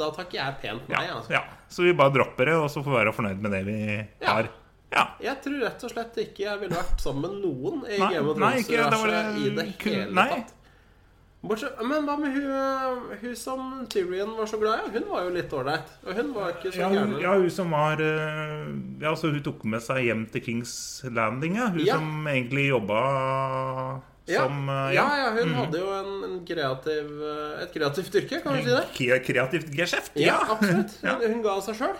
Speaker 1: da takker jeg pent nei.
Speaker 2: Ja,
Speaker 1: Altså.
Speaker 2: ja. Så vi bare dropper det, og så får vi være fornøyd med det vi har. Ja.
Speaker 1: Jeg tror rett og slett ikke jeg ville vært sammen med noen i
Speaker 2: Nei,
Speaker 1: Game of
Speaker 2: nei, ikke, det var
Speaker 1: Thrones-universet i det
Speaker 2: det kun-
Speaker 1: hele
Speaker 2: nei.
Speaker 1: tatt. Bortsett, men hva med hun, hun som Tyrion var så glad i? Hun var jo litt ålreit. Og hun var ikke så
Speaker 2: Ja hun,
Speaker 1: gæren.
Speaker 2: ja, hun som var eh, Ja, så hun tok med seg hjem til Kings Landing, ja. Hun
Speaker 1: Ja.
Speaker 2: som egentlig jobba
Speaker 1: Ja.
Speaker 2: som eh,
Speaker 1: ja, ja, hun hadde jo en, en kreativ, eh, et kreativt yrke, kan vi si det.
Speaker 2: Kre- Kreativt geskjeft.
Speaker 1: Ja,
Speaker 2: Mm. Ja.
Speaker 1: absolutt.
Speaker 2: Ja. Mm.
Speaker 1: Hun, hun ga av seg sjøl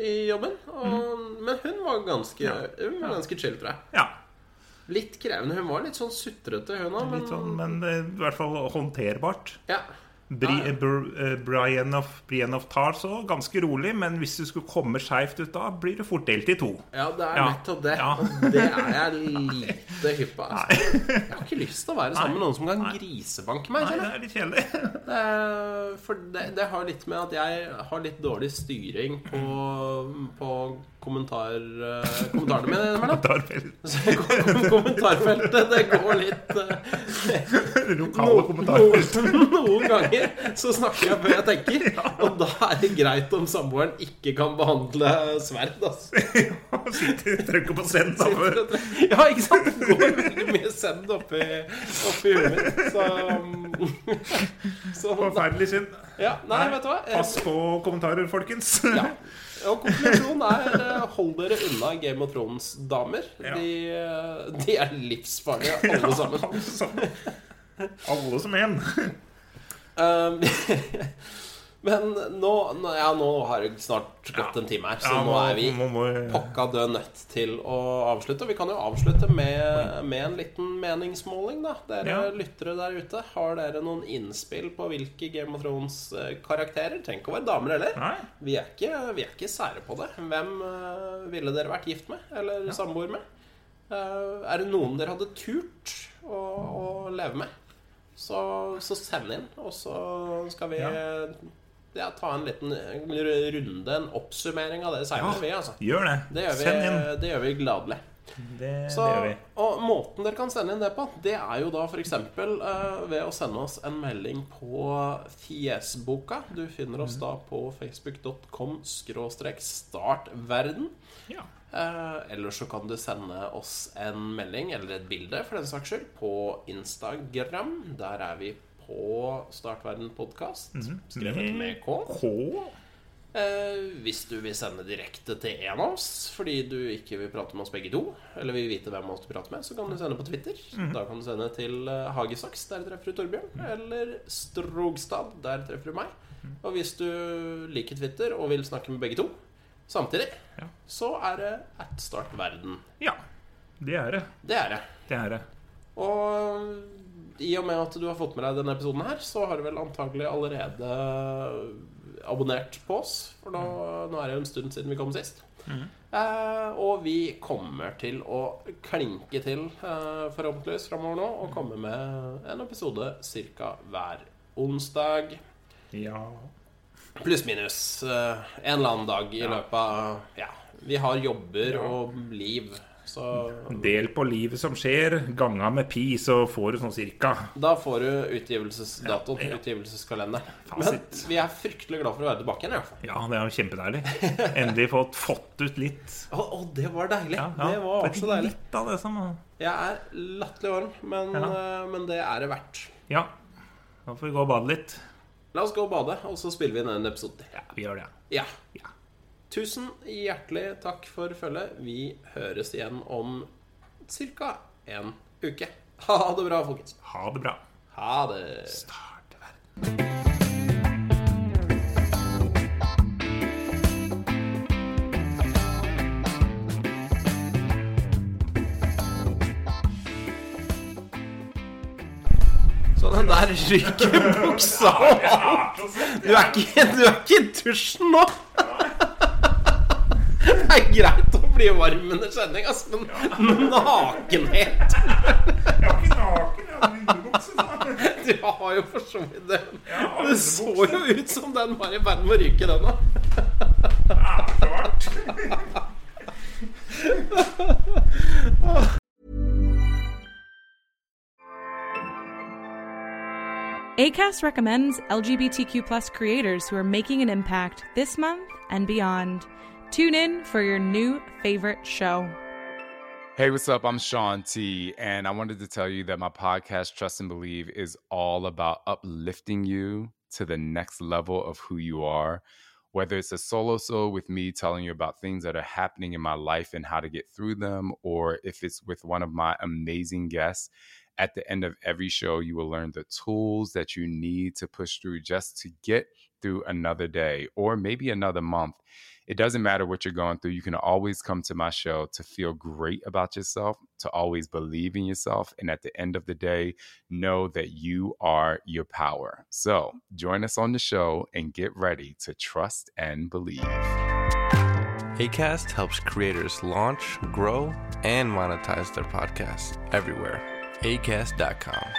Speaker 1: i jobben. Og, men hun var ganske Hun var ganske chill, tror jeg.
Speaker 2: ja.
Speaker 1: Litt krevende. Hun var litt sånn sutrete, hun òg, men
Speaker 2: Litt sånn, men eh, i hvert fall håndterbart.
Speaker 1: ja.
Speaker 2: Bri,
Speaker 1: Ja, ja.
Speaker 2: eh, Br- eh, Brian of, Brian of Tars òg, ganske rolig, men hvis du skulle komme skeivt ut da, blir du fort delt i to.
Speaker 1: ja, det er
Speaker 2: Ja.
Speaker 1: nettopp det.
Speaker 2: Ja.
Speaker 1: Og det er jeg lite hypp på. Altså. Jeg har ikke lyst til å være sammen med noen som kan grisebanke meg. kjenner jeg.
Speaker 2: Nei, det er litt kjedelig.
Speaker 1: Det, er- for det, det har litt med at jeg har litt dårlig styring på, på kommentar, eh, kommentarene mine. Bernhard.
Speaker 2: Kommentarfelt.
Speaker 1: Så kom- Kommentarfeltet, det går litt eh,
Speaker 2: Lokale
Speaker 1: no-
Speaker 2: kommentarfelt.
Speaker 1: noen, noen ganger så snakker jeg før jeg tenker, og da er det greit om samboeren ikke kan behandle sverd. Altså.
Speaker 2: Sitter trykker på send da, for-
Speaker 1: Ja, ikke sant? Det går veldig mye send oppi, oppi huet mitt. Så, um, så
Speaker 2: Forferdelig synd.
Speaker 1: ja, Nei, vet du hva? Eh,
Speaker 2: Pass på kommentarer, folkens.
Speaker 1: Ja. Og konklusjonen er eh, hold dere unna Game of Thrones-damer.
Speaker 2: Ja.
Speaker 1: De, eh, de er livsfarlige, alle sammen.
Speaker 2: Alle sammen. Alle som en.
Speaker 1: Um, Men nå, nå, ja, nå har det snart gått en time her, så nå, er vi
Speaker 2: nå må vi-
Speaker 1: pakka død nødt til å avslutte. Og vi kan jo avslutte med, med en liten meningsmåling, da. Dere
Speaker 2: Ja.
Speaker 1: lyttere der ute, har dere noen innspill på hvilke Game of eh, Thrones-karakterer? Trenger ikke å være damer heller.
Speaker 2: Nei.
Speaker 1: Vi er, ikke, vi er ikke sære på det. Hvem eh, ville dere vært gift med? Eller samboer med? Eh, er det noen dere hadde turt å, å leve med? Så, så send inn, og så skal vi
Speaker 2: Ja.
Speaker 1: eh, ja, ta en liten runde, en oppsummering av det seinere, vi, altså.
Speaker 2: Gjør det.
Speaker 1: Det gjør vi,
Speaker 2: Send inn.
Speaker 1: det gjør vi gladelig.
Speaker 2: Det,
Speaker 1: Så,
Speaker 2: det gjør vi.
Speaker 1: og måten dere kan sende inn det på, det er jo da f.eks. Uh, ved å sende oss en melding på Fiesboka. Du finner
Speaker 2: Mhm.
Speaker 1: oss da på facebook.com skråstrek startverden.
Speaker 2: Ja.
Speaker 1: Eh, eller så kan du sende oss en melding, eller et bilde for den saks skyld, på Instagram. Der er vi på Startverden podkast,
Speaker 2: Mhm.
Speaker 1: skrevet med K.
Speaker 2: K.
Speaker 1: Eh, hvis du vil sende direkte til en av oss fordi du ikke vil prate med oss begge to, eller vil vite hvem av oss du prater med, så kan du sende på Twitter. Da kan du sende til eh, Hagesaks, der treffer du Torbjørn, eller Strogstad, der treffer du meg. Og hvis du liker Twitter og vil snakke med begge to samtidig,
Speaker 2: Ja.
Speaker 1: så er det at start verden.
Speaker 2: Ja. Det er det.
Speaker 1: Det er det.
Speaker 2: Det er det.
Speaker 1: Og i og med at du har fått med deg denne episoden her, så har du vel antagelig allerede abonnert på oss. For nå, nå er det jo en stund siden vi kom sist. Eh, og vi kommer til å klinke til, eh, forhåpentligvis, framover nå og komme med en episode ca. hver onsdag.
Speaker 2: Ja.
Speaker 1: Pluss-minus eh, en eller annen dag i løpet av Ja. Vi har jobber og liv, så
Speaker 2: Del på livet som skjer, ganga med pi, så får du sånn cirka.
Speaker 1: Da får du utgivelsesdatoen.
Speaker 2: Ja, ja.
Speaker 1: Utgivelseskalenderen. Men
Speaker 2: Fasit.
Speaker 1: vi er fryktelig glad for å være tilbake igjen. i hvert fall.
Speaker 2: Ja, det er jo kjempedeilig. Endelig fått fått ut litt.
Speaker 1: Å, å, det var deilig!
Speaker 2: Ja, ja.
Speaker 1: Det var så deilig.
Speaker 2: Litt av det som
Speaker 1: Jeg er latterlig varm, men,
Speaker 2: Ja.
Speaker 1: eh, men det er det verdt.
Speaker 2: Ja. Da får vi gå og bade litt.
Speaker 1: La oss gå og bade, og så spiller vi inn en episode til.
Speaker 2: Ja, vi gjør det.
Speaker 1: Ja.
Speaker 2: Ja.
Speaker 1: Tusen hjertelig takk for følget. Vi høres igjen om ca. en uke. Ha det bra, folkens.
Speaker 2: Ha det bra.
Speaker 1: Ha det.
Speaker 2: Start verden.
Speaker 1: Så den der ryker buksa og alt. Du er ikke, du er ikke i dusjen nå. Det er greit å bli varm under sending, ass, men nakenhet
Speaker 2: Jeg var ikke naken, jeg hadde underbukse. så.
Speaker 1: Du har jo for så vidt det.
Speaker 2: Ja,
Speaker 1: Det så jo ut som den var i ferd med å ryke, den òg.
Speaker 2: Ja, klart.
Speaker 3: ACAST recommends LGBTQ plus creators who are making an impact this month and beyond. Tune in for your new favorite show.
Speaker 4: Hey, what's up? I'm Sean T, and I wanted to tell you that my podcast, Trust and Believe, is all about uplifting you to the next level of who you are. Whether it's a solo soul with me telling you about things that are happening in my life and how to get through them, or if it's with one of my amazing guests, at the end of every show, you will learn the tools that you need to push through just to get through another day or maybe another month. It doesn't matter what you're going through. You can always come to my show to feel great about yourself, to always believe in yourself. And at the end of the day, know that you are your power. So join us on the show and get ready to trust and believe.
Speaker 5: ACAST helps creators launch, grow, and monetize their podcasts everywhere. ACAST.com.